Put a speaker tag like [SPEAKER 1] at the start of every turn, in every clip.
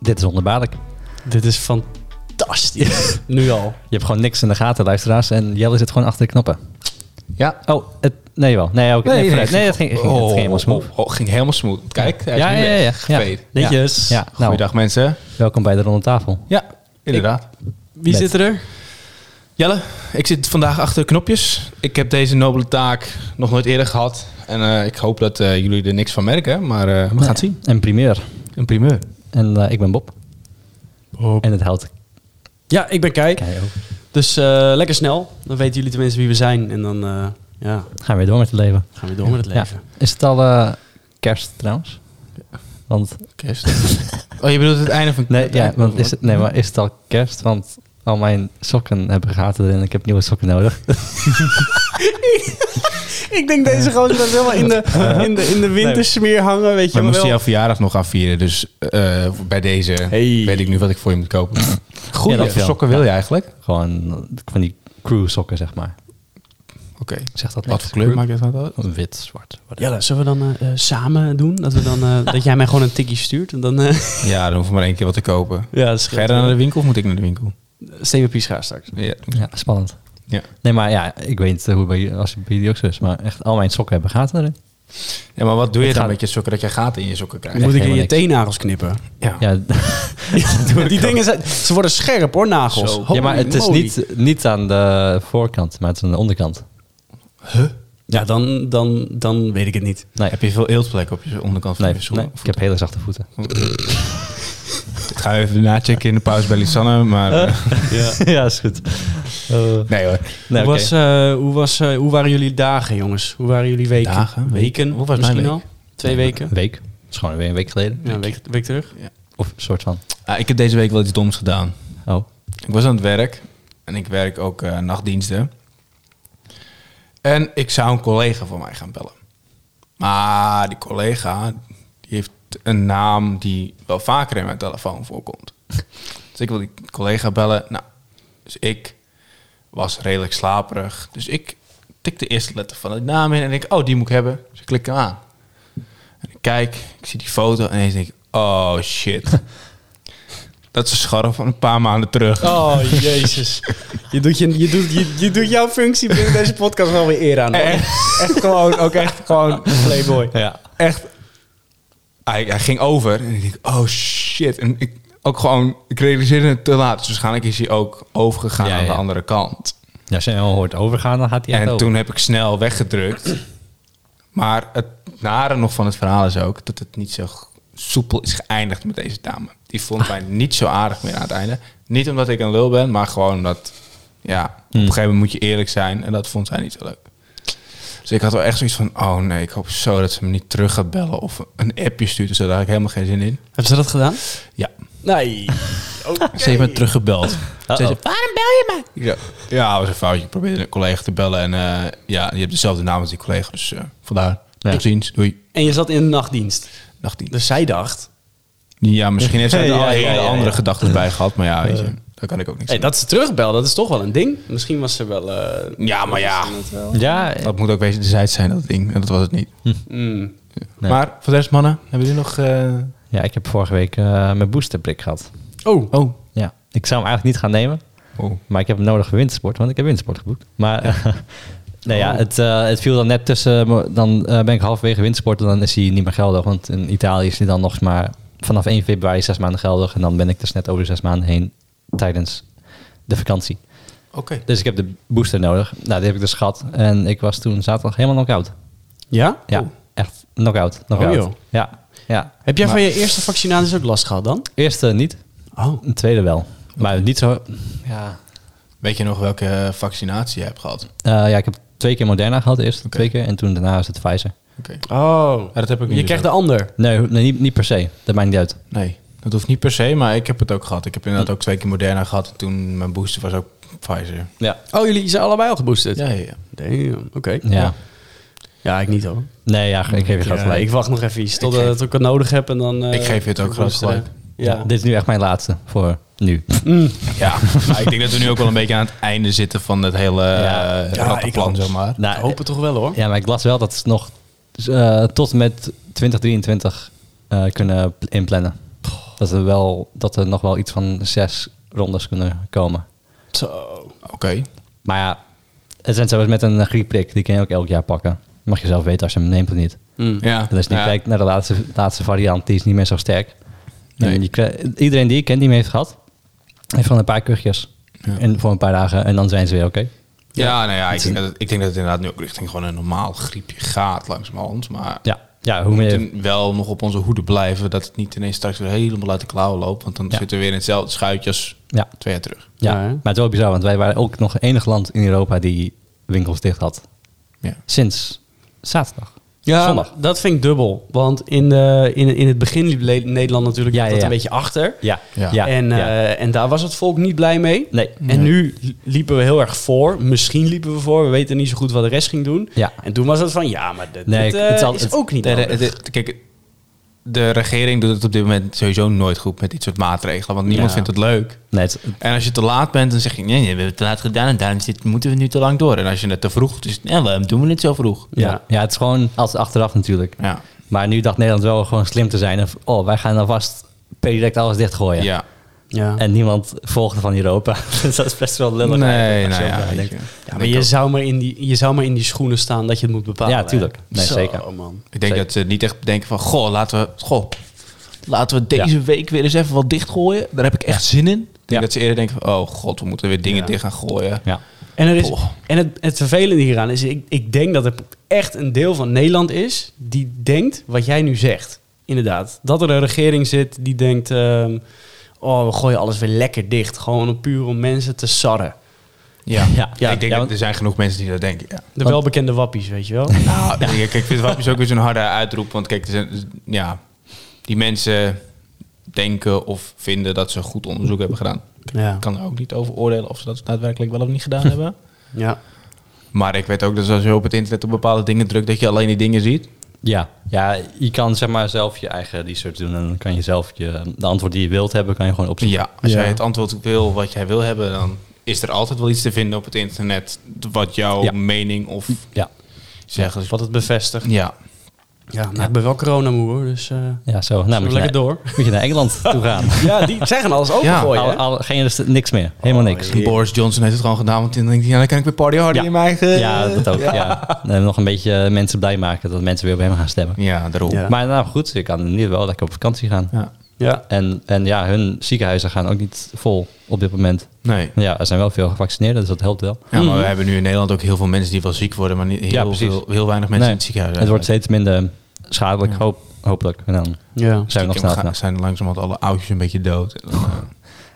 [SPEAKER 1] Dit is wonderbaarlijk.
[SPEAKER 2] Dit is fantastisch. nu al.
[SPEAKER 1] Je hebt gewoon niks in de gaten, luisteraars. En Jelle zit gewoon achter de knoppen.
[SPEAKER 3] Ja.
[SPEAKER 1] Oh, het, nee wel. Nee, ook, nee,
[SPEAKER 3] nee,
[SPEAKER 1] vooruit.
[SPEAKER 3] nee,
[SPEAKER 1] nee, dat ging, ging,
[SPEAKER 3] Oh,
[SPEAKER 1] het ging helemaal smooth.
[SPEAKER 3] oh, oh, ging helemaal smooth. Kijk, hij is
[SPEAKER 1] Ja,
[SPEAKER 3] nu
[SPEAKER 1] ja,
[SPEAKER 3] weg.
[SPEAKER 1] ja, ja.
[SPEAKER 3] Geveed.
[SPEAKER 2] Netjes.
[SPEAKER 1] Ja, nou,
[SPEAKER 3] Goeiedag mensen.
[SPEAKER 1] welkom bij de Ronde Tafel.
[SPEAKER 3] Ja, inderdaad.
[SPEAKER 2] Wie
[SPEAKER 1] Met-
[SPEAKER 2] zit er?
[SPEAKER 3] Jelle, ik zit vandaag achter de knopjes. Ik heb deze nobele taak nog nooit eerder gehad. En eh, ik hoop dat eh, jullie er niks van merken, maar eh, we gaan het zien.
[SPEAKER 1] En primeur.
[SPEAKER 3] Een primeur.
[SPEAKER 1] En eh, ik ben Bob. En het houdt
[SPEAKER 2] Ja, ik ben Kijk.
[SPEAKER 1] kei ook.
[SPEAKER 2] Dus eh, lekker snel. Dan weten jullie tenminste wie we zijn. En dan eh, ja,
[SPEAKER 1] Gaan we weer door met het leven.
[SPEAKER 2] gaan we door met het leven.
[SPEAKER 1] Ja. Is het al eh, kerst trouwens? Want,
[SPEAKER 3] Kerst. oh, je bedoelt het einde van...
[SPEAKER 1] nee,
[SPEAKER 3] het
[SPEAKER 1] ja,
[SPEAKER 3] einde-
[SPEAKER 1] want is het, nee, maar is het al kerst? Want al mijn sokken hebben gaten erin. Ik heb nieuwe sokken nodig.
[SPEAKER 2] Ik denk deze gozer dat helemaal in de, in de, in de wintersmeer hangen. Weet
[SPEAKER 3] We moesten jouw verjaardag nog afvieren, dus eh, bij deze
[SPEAKER 2] Hey.
[SPEAKER 3] weet ik nu wat ik voor je moet kopen.
[SPEAKER 1] Ja,
[SPEAKER 3] Goed,
[SPEAKER 1] dat
[SPEAKER 3] wat voor
[SPEAKER 1] wel.
[SPEAKER 3] sokken wil je eigenlijk?
[SPEAKER 1] Gewoon van die crew sokken, zeg maar.
[SPEAKER 3] Oké.
[SPEAKER 1] Zeg dat
[SPEAKER 3] Wat
[SPEAKER 1] niks?
[SPEAKER 3] voor kleur maakt dat uit?
[SPEAKER 1] Crew? Wit, zwart. whatever.
[SPEAKER 2] Jelle, zullen we dan eh, eh, samen doen? Dat, we dan, eh, dat jij mij gewoon een tikkie stuurt? En dan, eh,
[SPEAKER 3] Ja, dan hoef ik maar één keer wat te kopen.
[SPEAKER 2] ja, dat
[SPEAKER 3] Ga je dan naar de winkel of moet ik naar de winkel?
[SPEAKER 2] Steven Piesgaar straks.
[SPEAKER 3] Ja.
[SPEAKER 1] Ja, spannend.
[SPEAKER 3] Ja.
[SPEAKER 1] Nee, maar ja, ik weet niet eh, hoe bij jullie- als het bij jullie ook zo is, maar echt al mijn sokken hebben gaten erin.
[SPEAKER 3] ja, maar wat doe je
[SPEAKER 1] Het
[SPEAKER 3] dan
[SPEAKER 1] gaat-
[SPEAKER 3] met je sokken dat jij gaten in je sokken krijgt?
[SPEAKER 1] Echt
[SPEAKER 2] Moet ik
[SPEAKER 1] helemaal
[SPEAKER 2] weer je
[SPEAKER 1] niks.
[SPEAKER 2] teennagels knippen?
[SPEAKER 3] Ja.
[SPEAKER 1] Ja,
[SPEAKER 2] die dingen zijn... Ze worden scherp hoor, nagels.
[SPEAKER 3] Zo.
[SPEAKER 1] ja maar het is
[SPEAKER 2] Oh, Holy
[SPEAKER 1] niet, niet aan de voorkant, maar het is aan de onderkant.
[SPEAKER 2] Ja, dan, dan, dan weet ik het niet.
[SPEAKER 1] Nee,
[SPEAKER 3] Heb je veel eeltplek op je onderkant van
[SPEAKER 1] nee,
[SPEAKER 3] je
[SPEAKER 1] nee,
[SPEAKER 3] schoenen?
[SPEAKER 1] ik heb hele zachte voeten.
[SPEAKER 3] Ik ga even nachecken in de pauze bij Lisanne, maar... eh,
[SPEAKER 1] Ja, is goed. Eh,
[SPEAKER 3] nee hoor.
[SPEAKER 1] nee,
[SPEAKER 2] hoe,
[SPEAKER 1] oké.
[SPEAKER 2] was, eh, hoe, was, eh, hoe waren jullie dagen, jongens? Hoe waren jullie weken?
[SPEAKER 3] Dagen?
[SPEAKER 2] Weken?
[SPEAKER 3] Hoe was
[SPEAKER 2] misschien
[SPEAKER 3] mijn
[SPEAKER 2] al? Twee weken?
[SPEAKER 1] Een week. Het is gewoon weer een week geleden.
[SPEAKER 2] Ja, een week, week terug.
[SPEAKER 1] Of een soort van.
[SPEAKER 3] Ah, ik heb deze week wel iets doms gedaan.
[SPEAKER 1] Oh,
[SPEAKER 3] Ik was aan het werk en ik werk ook eh, nachtdiensten. En ik zou een collega van mij gaan bellen. Maar die collega die heeft een naam die wel vaker in mijn telefoon voorkomt. Dus ik wil die collega bellen. Nou, dus ik was redelijk slaperig. Dus ik tik de eerste letter van de naam in en denk, oh, die moet ik hebben. Dus ik klik hem aan. En ik kijk, ik zie die foto en ineens denk ik, oh shit. Dat is een scharf van een paar maanden terug.
[SPEAKER 2] Oh, jezus. Je doet, je, je, doet, je, je doet jouw functie binnen deze podcast wel weer eer aan. hoor.
[SPEAKER 3] Echt?
[SPEAKER 2] echt gewoon, ook echt gewoon playboy.
[SPEAKER 1] ja.
[SPEAKER 3] echt. Hij, hij ging over en ik denk, oh shit. En ik, ook gewoon, ik realiseerde het te laat. Dus waarschijnlijk is hij ook overgegaan
[SPEAKER 1] Ja,
[SPEAKER 3] aan de
[SPEAKER 1] ja.
[SPEAKER 3] andere kant.
[SPEAKER 1] ja als je hem al hoort overgaan, dan gaat hij echt
[SPEAKER 3] en
[SPEAKER 1] over.
[SPEAKER 3] toen heb ik snel weggedrukt. Maar het nare nog van het verhaal is ook dat het niet zo soepel is geëindigd met deze dame. Die vond mij niet zo aardig meer aan het einde. Niet omdat ik een lul ben, maar gewoon omdat, ja, op een gegeven moment moet je eerlijk zijn. En dat vond zij niet zo leuk. Dus ik had wel echt zoiets van, oh nee, ik hoop zo dat ze me niet terug gaat bellen of een appje stuurt. Dus daar had ik helemaal geen zin in.
[SPEAKER 2] Hebben ze dat gedaan?
[SPEAKER 3] Ja,
[SPEAKER 2] Nee. Oké.
[SPEAKER 3] ze heeft me teruggebeld.
[SPEAKER 1] Uh-oh.
[SPEAKER 3] Ze zei, waarom bel je me? Ik zei, ja, dat was een foutje. Ik probeerde een collega te bellen en eh, ja, je hebt dezelfde naam als die collega. Dus eh, vandaar,
[SPEAKER 1] Ja.
[SPEAKER 3] tot ziens, doei.
[SPEAKER 2] En je zat in de nachtdienst.
[SPEAKER 3] Nachtdienst.
[SPEAKER 2] Dus zij dacht...
[SPEAKER 3] Ja, misschien heeft ze er
[SPEAKER 1] Ja,
[SPEAKER 3] al
[SPEAKER 1] ja,
[SPEAKER 3] hele
[SPEAKER 1] ja, ja.
[SPEAKER 3] andere gedachten bij gehad. Maar ja, weet je, daar kan ik ook niks
[SPEAKER 2] Hey,
[SPEAKER 3] aan
[SPEAKER 2] dat ze terugbelde, dat is toch wel een ding. Misschien was ze wel... eh,
[SPEAKER 3] doen. Ja, maar ja,
[SPEAKER 1] Ja,
[SPEAKER 3] dat moet ook wederzijds zijn, dat ding. En dat was het niet.
[SPEAKER 2] mm.
[SPEAKER 1] Nee.
[SPEAKER 3] Maar voor de rest, mannen, hebben jullie nog... eh,
[SPEAKER 1] ja, ik heb vorige week eh, mijn boosterprik gehad.
[SPEAKER 2] Oh,
[SPEAKER 3] Oh,
[SPEAKER 1] Ja, ik zou hem eigenlijk niet gaan nemen.
[SPEAKER 3] oh.
[SPEAKER 1] Maar ik heb hem nodig voor wintersport, want ik heb wintersport geboekt. Maar eh, nee,
[SPEAKER 2] Oh.
[SPEAKER 1] ja, het, eh, het viel dan net tussen. maar Dan eh, ben ik halverwege wintersport en dan is hij niet meer geldig. Want in Italië is hij dan nog maar vanaf 1 februari zes maanden geldig. En dan ben ik dus net over de zes maanden heen tijdens de vakantie.
[SPEAKER 3] oké.
[SPEAKER 1] Dus ik heb de booster nodig. Nou, die heb ik dus gehad. En ik was toen zaterdag helemaal knock-out.
[SPEAKER 2] ja?
[SPEAKER 1] Ja,
[SPEAKER 2] Oh.
[SPEAKER 1] echt knock-out. knock-out.
[SPEAKER 2] Oh, joh.
[SPEAKER 1] Ja, ja.
[SPEAKER 2] Heb jij van je eerste vaccinaties ook last gehad dan?
[SPEAKER 1] Eerste niet,
[SPEAKER 2] Oh.
[SPEAKER 1] een tweede wel. Maar niet zo... eh, Ja,
[SPEAKER 3] Weet je nog welke vaccinatie je hebt gehad?
[SPEAKER 1] Eh, ja ik heb twee keer Moderna gehad eerst.
[SPEAKER 3] Oké.
[SPEAKER 1] Twee keer. En toen daarna is het Pfizer.
[SPEAKER 3] Oké.
[SPEAKER 2] Oh.
[SPEAKER 3] Ja, dat heb ik niet
[SPEAKER 2] Je
[SPEAKER 3] dus
[SPEAKER 2] krijgt de
[SPEAKER 3] ook.
[SPEAKER 2] ander.
[SPEAKER 1] Nee, ho- nee niet, niet per se. Dat maakt niet uit.
[SPEAKER 3] Nee, dat hoeft niet per se, maar ik heb het ook gehad. Ik heb inderdaad ook twee keer Moderna gehad. En toen mijn booster was ook Pfizer.
[SPEAKER 1] Ja.
[SPEAKER 2] Oh, jullie zijn allebei al geboosterd?
[SPEAKER 3] Ja, ja, ja.
[SPEAKER 2] Damn, oké.
[SPEAKER 1] Ja.
[SPEAKER 2] Ja, ik niet hoor.
[SPEAKER 1] Nee, ja, ik geef je groot
[SPEAKER 2] Ja,
[SPEAKER 1] gelijk.
[SPEAKER 2] ik wacht nog even iets totdat
[SPEAKER 3] Ik
[SPEAKER 2] ik het nodig heb en dan... eh,
[SPEAKER 3] Ik geef je het ook groot gelijk.
[SPEAKER 2] Ja.
[SPEAKER 1] Dit is nu echt mijn laatste voor nu.
[SPEAKER 3] Ja, maar ik denk dat we nu ook wel een beetje aan het einde zitten van het hele
[SPEAKER 1] Ja.
[SPEAKER 3] eh,
[SPEAKER 2] Ja,
[SPEAKER 3] rattenplan,
[SPEAKER 2] ik ook.
[SPEAKER 3] zeg maar.
[SPEAKER 2] Ik hoop het toch wel hoor.
[SPEAKER 1] Ja, maar ik las wel dat ze nog eh, tot en met 2023 eh, kunnen pl- inplannen. Dat dat er, wel, dat er nog wel iets van zes rondes kunnen komen.
[SPEAKER 2] Zo.
[SPEAKER 3] Oké.
[SPEAKER 1] Maar ja, het zijn zelfs met een eh, griepprik. Die kun je ook elk jaar pakken. Mag je zelf weten als je hem neemt of niet.
[SPEAKER 2] Mm.
[SPEAKER 3] Ja.
[SPEAKER 1] Dus niet
[SPEAKER 3] ja.
[SPEAKER 1] kijk naar de laatste, laatste variant. Die is niet meer zo sterk.
[SPEAKER 3] Nee.
[SPEAKER 1] En je krijgt- iedereen die ik ken die hem heeft gehad, heeft van een paar kuchjes.
[SPEAKER 3] Ja.
[SPEAKER 1] En voor een paar dagen. En dan zijn ze weer oké.
[SPEAKER 3] Ja, nou ja, ik denk, dat het, ik denk dat het inderdaad nu ook richting gewoon een normaal griepje gaat langzamerhand. Maar
[SPEAKER 1] Ja. ja, hoe
[SPEAKER 3] we
[SPEAKER 1] meer...
[SPEAKER 3] moeten wel nog op onze hoede blijven dat het niet ineens straks weer helemaal uit de klauwen loopt. Want dan
[SPEAKER 1] Ja.
[SPEAKER 3] zitten we weer in hetzelfde schuitje als
[SPEAKER 1] Ja,
[SPEAKER 3] twee jaar terug.
[SPEAKER 1] ja.
[SPEAKER 2] Ja, hè?
[SPEAKER 1] maar het is wel bizar. Want wij waren ook nog het enige land in Europa die winkels dicht had.
[SPEAKER 3] Ja.
[SPEAKER 1] Sinds zaterdag.
[SPEAKER 2] Ja,
[SPEAKER 1] Zondag.
[SPEAKER 2] dat vind ik dubbel. Want in, de, in, in het begin liep Le- Nederland natuurlijk
[SPEAKER 1] Ja,
[SPEAKER 2] dat
[SPEAKER 1] ja, ja.
[SPEAKER 2] een beetje achter.
[SPEAKER 1] Ja.
[SPEAKER 3] Ja.
[SPEAKER 2] en,
[SPEAKER 1] ja.
[SPEAKER 2] eh, en daar was het volk niet blij mee.
[SPEAKER 1] nee.
[SPEAKER 2] En nu li- liepen we heel erg voor. Misschien liepen we voor. We weten niet zo goed wat de rest ging doen.
[SPEAKER 1] Ja.
[SPEAKER 2] En toen was het van, ja, maar dit,
[SPEAKER 1] Nee,
[SPEAKER 2] dit,
[SPEAKER 1] ik-
[SPEAKER 2] eh,
[SPEAKER 1] het zal-
[SPEAKER 2] is
[SPEAKER 1] het-
[SPEAKER 2] ook niet
[SPEAKER 3] De,
[SPEAKER 2] nodig.
[SPEAKER 3] de- de- kijk, de regering doet het op dit moment sowieso nooit goed met dit soort maatregelen. Want niemand
[SPEAKER 2] Ja.
[SPEAKER 3] vindt het leuk.
[SPEAKER 1] Nee, het,
[SPEAKER 3] En als je te laat bent, dan zeg je... Nee, nee, we hebben het te laat gedaan en daarom zit, moeten we nu te lang door. En als je het te vroeg doet, is het... Ja, waarom doen we het zo vroeg?
[SPEAKER 1] ja.
[SPEAKER 2] Ja.
[SPEAKER 1] Ja. het is gewoon altijd achteraf natuurlijk.
[SPEAKER 3] Ja.
[SPEAKER 1] Maar nu dacht Nederland wel gewoon slim te zijn. En v- oh, wij gaan alvast per direct alles dichtgooien.
[SPEAKER 3] Oh Ja.
[SPEAKER 2] ja.
[SPEAKER 1] En niemand volgde van Europa. dus dat is best wel lullig.
[SPEAKER 3] Nee,
[SPEAKER 1] eigenlijk, als
[SPEAKER 3] nou
[SPEAKER 1] je
[SPEAKER 3] ja.
[SPEAKER 1] erover
[SPEAKER 3] weet
[SPEAKER 1] nadenkt.
[SPEAKER 3] je.
[SPEAKER 2] ja, maar je zou maar, in die, je zou maar in die schoenen staan dat je het moet bepalen.
[SPEAKER 1] Ja, tuurlijk.
[SPEAKER 2] hè?
[SPEAKER 1] Nee,
[SPEAKER 2] Zo,
[SPEAKER 1] zeker.
[SPEAKER 2] man.
[SPEAKER 3] Ik denk
[SPEAKER 1] Zeker.
[SPEAKER 3] dat ze niet echt bedenken van... Goh, laten we... Goh, laten we deze week weer eens even wat dichtgooien. Daar heb ik echt zin in. Ik
[SPEAKER 1] Ja.
[SPEAKER 3] denk dat ze eerder denken van... Oh god, we moeten weer dingen
[SPEAKER 2] Ja.
[SPEAKER 3] dicht gaan gooien.
[SPEAKER 1] Ja.
[SPEAKER 2] En, er is,
[SPEAKER 3] Poh.
[SPEAKER 2] en het, het vervelende hieraan is, ik, ik denk dat er echt een deel van Nederland is die denkt wat jij nu zegt. Inderdaad. Dat er een regering zit die denkt, ehm, oh, we gooien alles weer lekker dicht. Gewoon om- puur om mensen te sarren.
[SPEAKER 3] Ja.
[SPEAKER 1] Ja.
[SPEAKER 3] Ik denk
[SPEAKER 1] Ja,
[SPEAKER 3] dat
[SPEAKER 1] want-
[SPEAKER 3] er zijn genoeg mensen die dat denken, ja.
[SPEAKER 2] De
[SPEAKER 1] Want-
[SPEAKER 2] welbekende wappies, weet je wel.
[SPEAKER 3] Nou, ja. kijk, ik vind Wappies ook weer zo'n harde uitroep. Want kijk, er zijn- ja, die mensen denken of vinden dat ze goed onderzoek hebben gedaan.
[SPEAKER 2] Ja.
[SPEAKER 3] Ik kan er ook niet over oordelen of ze dat daadwerkelijk wel of niet gedaan hebben.
[SPEAKER 2] ja.
[SPEAKER 3] Maar ik weet ook dat als je op het internet op bepaalde dingen drukt, dat je alleen die dingen ziet.
[SPEAKER 1] Ja. ja, je kan zeg maar zelf je eigen research doen. En dan kan je zelf je, de antwoord die je wilt hebben, kan je gewoon opzoeken.
[SPEAKER 3] Ja, als
[SPEAKER 2] Ja.
[SPEAKER 3] jij het antwoord wil wat jij wil hebben, dan is er altijd wel iets te vinden op het internet wat jouw
[SPEAKER 1] Ja.
[SPEAKER 3] mening of
[SPEAKER 1] Ja,
[SPEAKER 3] zeggen. is.
[SPEAKER 2] Wat het bevestigt.
[SPEAKER 3] Ja,
[SPEAKER 2] Ja, nou, ik ben wel coronamoe hoor, dus eh
[SPEAKER 1] ja. zo. Nou, moet je,
[SPEAKER 2] lekker
[SPEAKER 1] naar,
[SPEAKER 2] door.
[SPEAKER 1] moet je naar Engeland toe gaan.
[SPEAKER 2] Ja, die zeggen alles opengooien.
[SPEAKER 1] Al,
[SPEAKER 2] hè?
[SPEAKER 1] al, geen, niks meer. Helemaal
[SPEAKER 2] Oh,
[SPEAKER 1] niks.
[SPEAKER 2] jee.
[SPEAKER 3] Boris Johnson heeft het gewoon gedaan, want dan denk ik, ja, dan kan ik weer party harder
[SPEAKER 1] Ja.
[SPEAKER 3] in mijn eigen...
[SPEAKER 1] Ja, dat ook. Ja. En nog een beetje eh, mensen blij maken. Dat mensen weer op hem gaan stemmen.
[SPEAKER 3] Ja, daarom.
[SPEAKER 2] Ja.
[SPEAKER 1] Maar nou goed, je kan in ieder geval lekker op vakantie gaan.
[SPEAKER 3] ja.
[SPEAKER 2] Ja.
[SPEAKER 1] En, en ja, hun ziekenhuizen gaan ook niet vol op dit moment.
[SPEAKER 3] Nee.
[SPEAKER 1] Ja, er zijn wel veel gevaccineerden, dus dat helpt wel.
[SPEAKER 3] Ja, maar we hebben nu in Nederland ook heel veel mensen die wel ziek worden, maar niet heel,
[SPEAKER 1] Ja, precies.
[SPEAKER 3] veel, heel weinig mensen
[SPEAKER 1] Nee,
[SPEAKER 3] in het ziekenhuis.
[SPEAKER 1] Het wordt
[SPEAKER 3] eigenlijk.
[SPEAKER 1] steeds minder schadelijk, hoop, hopelijk. En dan
[SPEAKER 2] ja.
[SPEAKER 1] zijn we nog
[SPEAKER 3] Stiekem
[SPEAKER 1] snel
[SPEAKER 3] ga-
[SPEAKER 1] vanaf.
[SPEAKER 3] zijn langzamerhand alle oudjes een beetje dood. En dan, eh,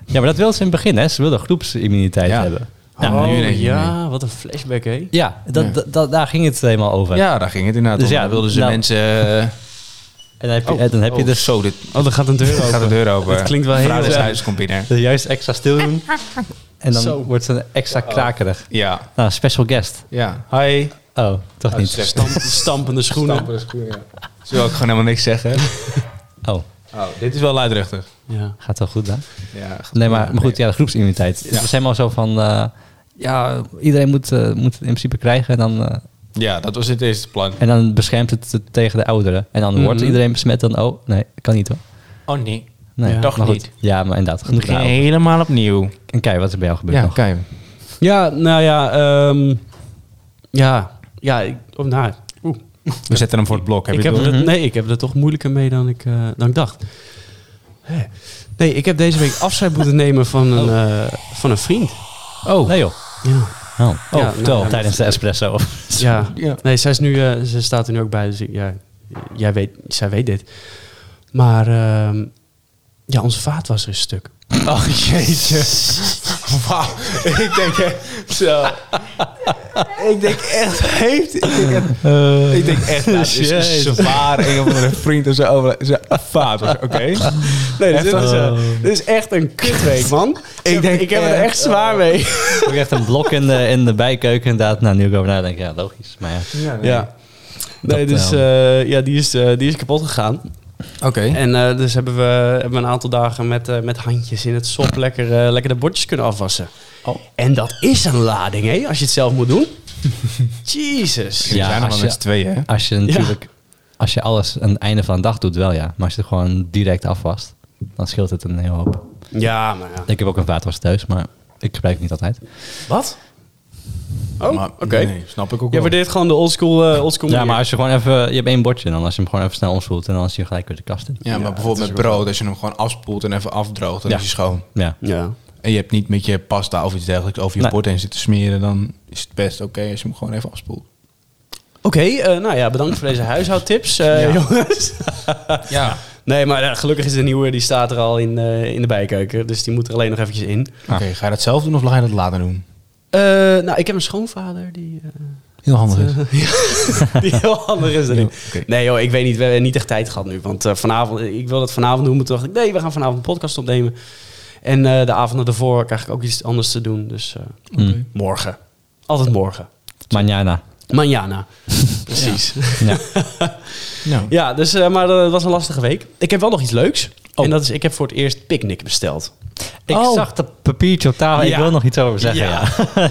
[SPEAKER 1] Ja, maar dat wilden ze in het begin, hè? Ze wilden groepsimmuniteit
[SPEAKER 3] Ja.
[SPEAKER 1] hebben.
[SPEAKER 3] Ja, maar Nou, nu in één
[SPEAKER 2] oh,
[SPEAKER 3] keer
[SPEAKER 2] ja, wat een flashback, hè?
[SPEAKER 1] Ja, dat,
[SPEAKER 3] Ja.
[SPEAKER 1] dat- dat- daar ging het helemaal over.
[SPEAKER 3] ja, daar ging het inderdaad
[SPEAKER 1] Dus
[SPEAKER 3] om.
[SPEAKER 1] ja,
[SPEAKER 3] Dan wilden ze
[SPEAKER 1] nou-
[SPEAKER 3] mensen... eh,
[SPEAKER 1] En dan heb je, en dan heb je
[SPEAKER 3] oh,
[SPEAKER 1] dus
[SPEAKER 3] Zo, dit
[SPEAKER 2] Oh, dan gaat een deur
[SPEAKER 3] gaat de
[SPEAKER 2] open.
[SPEAKER 3] deur open.
[SPEAKER 2] Het klinkt wel heel
[SPEAKER 3] Vrouw des
[SPEAKER 2] erg.
[SPEAKER 3] huis komt binnen.
[SPEAKER 1] de juist extra stil doen. En dan
[SPEAKER 2] Zo.
[SPEAKER 1] wordt ze extra krakerig.
[SPEAKER 3] Ja.
[SPEAKER 1] Nou, special guest.
[SPEAKER 3] Ja. Hi.
[SPEAKER 1] Oh, toch
[SPEAKER 3] Oh,
[SPEAKER 1] niet.
[SPEAKER 3] slecht.
[SPEAKER 2] Stamp- stampende schoenen.
[SPEAKER 3] Zullen we ook gewoon helemaal niks zeggen?
[SPEAKER 1] Oh,
[SPEAKER 3] Oh, dit is wel luidruchtig.
[SPEAKER 2] Ja.
[SPEAKER 1] gaat wel goed dan?
[SPEAKER 3] Ja,
[SPEAKER 1] Nee, maar, maar goed, ja, de groepsimmuniteit. We zijn wel zo van, eh, ja, iedereen moet, eh, moet het in principe krijgen. En dan, eh,
[SPEAKER 3] Ja, dat was het eerste plan.
[SPEAKER 1] en dan beschermt het het tegen de ouderen. En dan wordt
[SPEAKER 2] Mhm.
[SPEAKER 1] iedereen besmet. Dan, oh, nee, kan niet hoor.
[SPEAKER 3] Oh nee.
[SPEAKER 1] Nee,
[SPEAKER 2] Ja.
[SPEAKER 1] maar
[SPEAKER 3] Toch
[SPEAKER 1] goed.
[SPEAKER 3] niet.
[SPEAKER 1] Ja, maar inderdaad.
[SPEAKER 3] Het
[SPEAKER 1] Genoeg
[SPEAKER 3] ging
[SPEAKER 1] daarover.
[SPEAKER 3] helemaal opnieuw.
[SPEAKER 1] En kijk, wat is er bij jou gebeurd
[SPEAKER 3] Ja,
[SPEAKER 1] nog?
[SPEAKER 3] kijk.
[SPEAKER 2] ja, nou ja, ehm, ja, ja, ik, oh, nou, oeh.
[SPEAKER 3] We zetten hem voor het blok. Heb
[SPEAKER 2] ik
[SPEAKER 3] je
[SPEAKER 2] heb
[SPEAKER 3] het door? Mhm.
[SPEAKER 2] er, nee, ik heb er toch moeilijker mee dan ik, eh, dan ik dacht. Hè. Nee, ik heb deze week afscheid moeten nemen van een, eh, van een vriend.
[SPEAKER 1] Oh. Nee joh.
[SPEAKER 2] Ja.
[SPEAKER 1] Oh, oh
[SPEAKER 2] nou,
[SPEAKER 1] vertel.
[SPEAKER 2] ja,
[SPEAKER 1] Tijdens de espresso.
[SPEAKER 2] Ja.
[SPEAKER 3] Ja.
[SPEAKER 2] Nee, zij, is nu, eh, ze staat er nu ook bij. Dus ik- ja, jij weet, zij weet dit. Maar ehm, ja, onze vaat was er een stuk.
[SPEAKER 3] Oh jeetje. Wauw. Ik denk echt zo. Ik denk echt heeft. Ik denk echt, ik denk echt nou, dit is
[SPEAKER 1] Jezus.
[SPEAKER 3] zwaar. Een of andere vriend of zo ah, over zijn vader. Oké.
[SPEAKER 2] Nee, dit,
[SPEAKER 3] Echt
[SPEAKER 2] was,
[SPEAKER 3] wel?
[SPEAKER 2] eh, dit is echt een kutweek, man. ik, heb-
[SPEAKER 3] denk
[SPEAKER 2] ik heb er
[SPEAKER 3] echt-
[SPEAKER 2] echt zwaar mee.
[SPEAKER 1] Ook echt een blok in de, in de bijkeuken inderdaad. Nou, nu ik over nadenk, ja, logisch. Maar ja.
[SPEAKER 2] Ja. Nee,
[SPEAKER 1] Dat,
[SPEAKER 2] dus eh, ja, die is, eh, die is kapot gegaan.
[SPEAKER 3] Oké.
[SPEAKER 2] En eh, dus hebben we, hebben we een aantal dagen met, eh, met handjes in het sop lekker, eh, lekker de bordjes kunnen afwassen.
[SPEAKER 1] Oh.
[SPEAKER 2] En dat is een lading, hè, als je het zelf moet doen. Jezus.
[SPEAKER 3] We
[SPEAKER 1] Ja,
[SPEAKER 3] zijn
[SPEAKER 1] als
[SPEAKER 3] er maar
[SPEAKER 1] je-
[SPEAKER 3] met z'n tweeën, hè?
[SPEAKER 1] Als je natuurlijk... Als je alles aan het einde van de dag doet, wel ja. Maar als je het gewoon direct afwast. Dan scheelt het een heel hoop.
[SPEAKER 2] Ja, maar ja.
[SPEAKER 1] Ik heb ook een vaatwas thuis, maar ik gebruik het niet altijd.
[SPEAKER 2] Wat? Oh,
[SPEAKER 3] Maar-
[SPEAKER 2] oké.
[SPEAKER 3] nee, snap ik ook
[SPEAKER 2] Jij
[SPEAKER 3] wel.
[SPEAKER 2] waardeert gewoon de oldschool eh oldschool
[SPEAKER 1] Ja,
[SPEAKER 2] manier.
[SPEAKER 1] maar als je gewoon even... Je hebt één bordje en dan als je hem gewoon even snel omspoelt... en dan is hij gelijk weer de kast in.
[SPEAKER 3] Ja, maar bijvoorbeeld met brood, als je hem gewoon afspoelt en even afdroogt, dan
[SPEAKER 1] Ja.
[SPEAKER 3] is hij schoon.
[SPEAKER 1] Ja.
[SPEAKER 2] Ja.
[SPEAKER 3] En je hebt niet met je pasta of iets dergelijks over je
[SPEAKER 1] Nee.
[SPEAKER 3] bord heen zitten smeren, dan is het best oké als je hem gewoon even afspoelt.
[SPEAKER 2] Oké, eh, nou ja, bedankt voor deze huishoudtips, eh,
[SPEAKER 3] Ja.
[SPEAKER 2] jongens.
[SPEAKER 3] Ja.
[SPEAKER 2] Nee, maar eh, gelukkig is de nieuwe, die staat er al in, eh, in de bijkeuken. Dus die moet er alleen nog eventjes in.
[SPEAKER 3] Oké, ga je dat zelf doen of ga je dat later doen?
[SPEAKER 2] Eh, nou, ik heb een schoonvader die, eh,
[SPEAKER 3] Heel handig is.
[SPEAKER 2] die heel handig is dan
[SPEAKER 3] Ja,
[SPEAKER 2] ik.
[SPEAKER 3] oké.
[SPEAKER 2] Nee joh, ik weet niet. We hebben niet echt tijd gehad nu. Want eh, vanavond, ik wil dat vanavond doen. Maar toen dacht ik, nee, we gaan vanavond een podcast opnemen. En eh, de avonden daarvoor krijg ik ook iets anders te doen. Dus eh,
[SPEAKER 1] Mm.
[SPEAKER 2] morgen. Altijd morgen.
[SPEAKER 1] Manjana.
[SPEAKER 2] Manjana. Precies. Ja,
[SPEAKER 1] Ja.
[SPEAKER 3] Nou,
[SPEAKER 2] dus, eh, maar dat was een lastige week. Ik heb wel nog iets leuks.
[SPEAKER 1] Oh.
[SPEAKER 2] En dat is, ik heb voor het eerst picknick besteld.
[SPEAKER 1] Ik
[SPEAKER 3] Oh.
[SPEAKER 1] zag dat papiertje op tafel. Ik
[SPEAKER 2] Ja.
[SPEAKER 1] wil nog iets over zeggen. Ja.